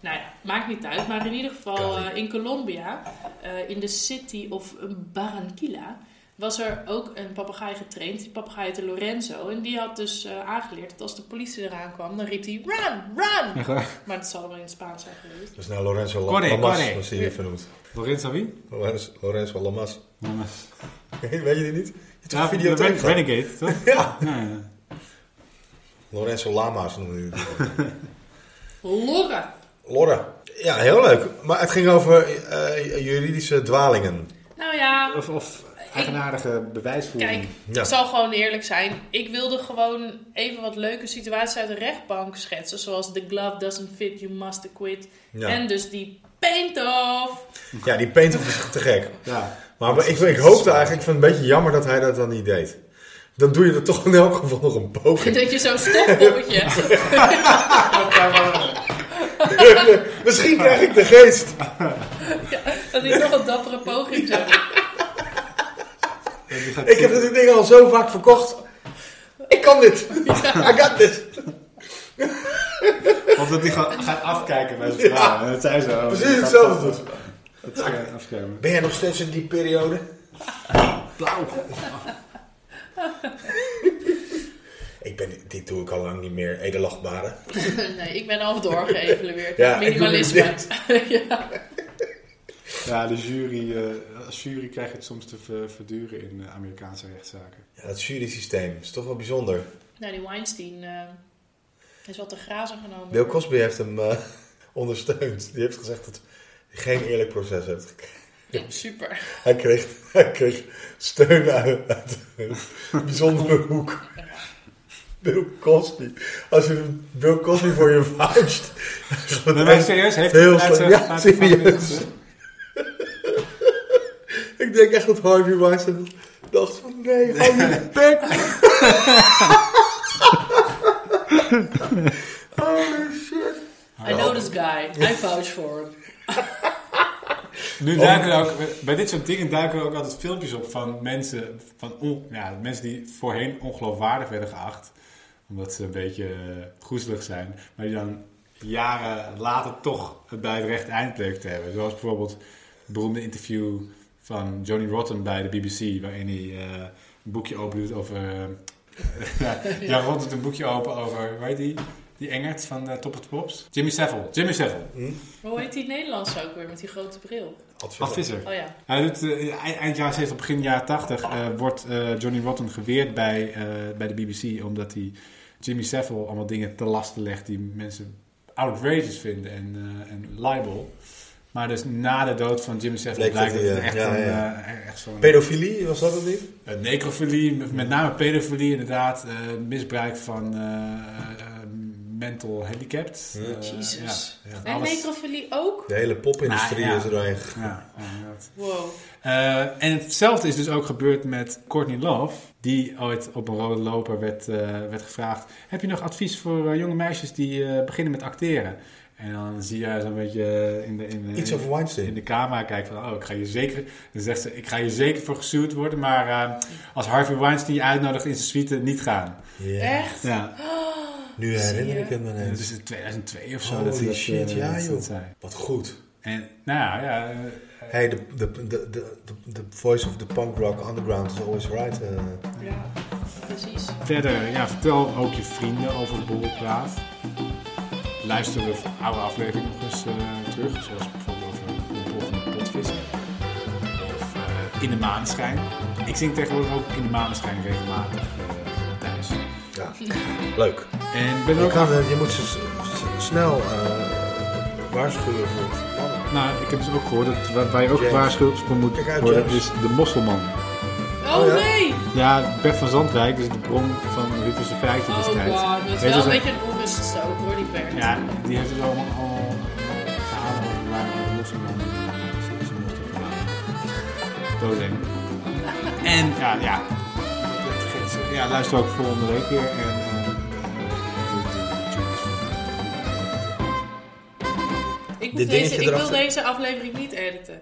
Speaker 1: Nou ja, maakt niet uit. Maar in ieder geval
Speaker 2: Kali.
Speaker 1: eh, in Colombia, eh, in de city of Barranquilla, was er ook een papegaai getraind. Die papegaai heette Lorenzo. En die had dus eh, aangeleerd dat als de politie eraan kwam, dan riep hij run, run.
Speaker 3: Echt waar?
Speaker 1: Maar dat zal wel in het Spaans zijn geweest.
Speaker 2: Dus nou Lorenzo La-
Speaker 3: Corre,
Speaker 2: Lamas
Speaker 3: corre.
Speaker 2: was hij hier vernoemd.
Speaker 3: Lorenzo wie?
Speaker 2: Lorenzo, Lorenzo Lamas.
Speaker 3: Lamas.
Speaker 2: Weet je die niet? Je hebt toch
Speaker 3: Ja,
Speaker 2: een video
Speaker 3: Ren-
Speaker 2: terug. gehad?
Speaker 3: Renegade, toch?
Speaker 2: Ja.
Speaker 3: Ja, ja.
Speaker 2: Lorenzo Lamas noemde hij het.
Speaker 1: Lorre.
Speaker 2: Lorre. Ja, heel leuk. Maar het ging over eh, juridische dwalingen.
Speaker 1: Nou ja,
Speaker 3: Of, of eigenaardige bewijsvoering.
Speaker 1: kijk,
Speaker 2: Mm, Ja.
Speaker 1: ik zal gewoon eerlijk zijn. Ik wilde gewoon even wat leuke situaties uit de rechtbank schetsen. Zoals the glove doesn't fit, you must acquit.
Speaker 2: Ja.
Speaker 1: En dus die paint off.
Speaker 2: Ja, die paint is te gek.
Speaker 3: Ja.
Speaker 2: Maar ik, ik hoopte eigenlijk, ik vind het een beetje jammer dat hij dat dan niet deed. Dan doe je er toch in elk geval nog een poging.
Speaker 1: Dat je zo'n stoppommetje.
Speaker 2: Misschien krijg ik de geest.
Speaker 1: dat is nog een dappere poging. zou doen.
Speaker 3: Die gaat-
Speaker 2: Ik heb dit ding al zo vaak verkocht. Ik kan dit. I got this.
Speaker 3: Of dat die gewoon gaat afkijken bij zijn vrouw. En dat zij zo. oh,
Speaker 2: Precies
Speaker 3: die gaat
Speaker 2: hetzelfde
Speaker 3: toch- Dat scherm afschermen.
Speaker 2: Ben jij nog steeds in die periode?
Speaker 3: Blauw.
Speaker 2: Ik ben, dit doe ik al lang niet meer. Edelachtbare.
Speaker 1: nee, ik ben half doorgeëvalueerd.
Speaker 2: Ja, ik doe dit
Speaker 1: Minimalisme. ja.
Speaker 3: Ja, de jury, eh, als jury krijg je het soms te ver- verduren in eh, Amerikaanse rechtszaken.
Speaker 2: Ja, het jury-systeem is toch wel bijzonder.
Speaker 1: Nou, die Weinstein eh, is wat te grazen genomen.
Speaker 2: Bill Cosby heeft hem eh, ondersteund. Die heeft gezegd dat hij geen eerlijk proces heeft gekregen.
Speaker 1: Ja, super.
Speaker 2: Hij kreeg, hij kreeg steun uit, uit een bijzondere hoek. Bill Cosby. Als je Bill Cosby voor je vuist.
Speaker 3: Nee, maar serieus, heeft eh,
Speaker 2: Heel
Speaker 3: hij
Speaker 2: slecht. Ja, serieus. Ik denk echt dat Harvey Weinstein dacht van nee, hou je bek. Holy shit.
Speaker 1: I know this guy. I vouch for him.
Speaker 3: Nu duiken er ook, bij dit soort dingen duiken er ook altijd filmpjes op van mensen, van on- ja, mensen die voorheen ongeloofwaardig werden geacht. Omdat ze een beetje eh, groezelig zijn. Maar die dan jaren later toch het bij het recht eind bleek te hebben. Zoals bijvoorbeeld het beroemde interview van Johnny Rotten bij de BBC. Waarin hij eh, een boekje opendoet over... eh, ja, Rotten doet een boekje open over, weet die? Die Engert van eh, Top of the Pops. Jimmy Savile. Jimmy Savile.
Speaker 2: Hm?
Speaker 1: Maar hoe heet die Nederlandse ook weer met die grote bril?
Speaker 3: Ad Visser.
Speaker 1: Oh ja.
Speaker 3: Hij doet, eh, eind- eind jaren 70, begin jaren 80 eh, wordt eh, Johnny Rotten geweerd bij, eh, bij de BBC. Omdat hij Jimmy Savile allemaal dingen te lasten legt die mensen outrageous vinden en, eh, en libel. Maar dus na de dood van Jimmy Savile
Speaker 2: Bleek
Speaker 3: blijkt dat
Speaker 2: dat
Speaker 3: het
Speaker 2: hij,
Speaker 3: echt,
Speaker 2: ja,
Speaker 3: een,
Speaker 2: ja.
Speaker 3: eh, echt zo'n...
Speaker 2: Pedofilie, was dat het niet?
Speaker 3: Eh, necrofilie, met met name pedofilie inderdaad. eh, misbruik van eh, eh, mental handicapped.
Speaker 2: Ja.
Speaker 3: Eh,
Speaker 1: Jesus.
Speaker 3: ja, ja,
Speaker 1: En
Speaker 3: alles.
Speaker 1: necrofilie ook?
Speaker 2: De hele popindustrie
Speaker 3: Nou, ja.
Speaker 2: is er doorheen gegaan.
Speaker 3: Ja, ja, inderdaad.
Speaker 1: Wow.
Speaker 3: Eh, en hetzelfde is dus ook gebeurd met Courtney Love, die ooit op een rode loper werd, eh, werd gevraagd: Heb je nog advies voor eh, jonge meisjes die eh, beginnen met acteren? En dan zie je haar zo'n beetje eh, in de, in, de-
Speaker 2: Iets over
Speaker 3: in
Speaker 2: Weinstein.
Speaker 3: de camera kijken: van, Oh, ik ga je zeker. Dan zegt ze: Ik ga je zeker voor gesuurd worden, maar eh, als Harvey Weinstein je uitnodigt in zijn suite, niet gaan.
Speaker 2: Ja.
Speaker 1: Echt?
Speaker 3: Ja,
Speaker 2: Nu herinner ik het me
Speaker 3: en dat
Speaker 2: ineens.
Speaker 3: is Eh, dus in 2002 of zo.
Speaker 2: Holy
Speaker 3: dat ze dat,
Speaker 2: shit,
Speaker 3: eh,
Speaker 2: ja,
Speaker 3: dat ze dat
Speaker 2: joh.
Speaker 3: zei.
Speaker 2: Wat goed.
Speaker 3: En nou ja, ja eh,
Speaker 2: Hey, de, de, de, de, de- de voice of the punk rock underground is always right. eh.
Speaker 1: Ja, precies.
Speaker 3: Verder, ja, vertel ook je vrienden over borrelpraat. Luister de oude aflevering nog eens eh, terug, zoals bijvoorbeeld over de bol van de potvissen. Of eh, in de maneschijn. Ik zing tegenwoordig ook in de maneschijn regelmatig eh, thuis.
Speaker 2: ja. Leuk.
Speaker 3: En ik ben er
Speaker 2: Je,
Speaker 3: ook
Speaker 2: kan, eh, je moet ze s- s- snel eh, waarschuwen voor voor mannen.
Speaker 3: Nou, ik heb dus ook gehoord dat waar, waar je ook
Speaker 2: James.
Speaker 3: gewaarschuwd voor moet
Speaker 2: Kijk uit,
Speaker 3: worden
Speaker 2: James.
Speaker 3: is de mosselman.
Speaker 1: Oh,
Speaker 2: Oh ja?
Speaker 1: nee!
Speaker 3: Ja, Bert van Zandwijk, dus de bron van Rufus de Vijfde
Speaker 1: Oh
Speaker 3: destijds.
Speaker 1: god, dat is
Speaker 3: Weet
Speaker 1: wel
Speaker 3: je,
Speaker 1: een
Speaker 3: zo-
Speaker 1: beetje een onrust ook hoor, die Bert.
Speaker 3: Ja, die heeft het allemaal al verhalen over waar de moslimman ze moesten verhalen. Doodeng. En ja, ja. Dat vergeet ze. Ja, luister ook volgende week weer. En, eh, eh, doe- doe- doe- doe- doe-
Speaker 1: ik, moet deze,
Speaker 2: Dit dingetje
Speaker 1: ik wil
Speaker 2: erachter.
Speaker 1: deze aflevering niet editen.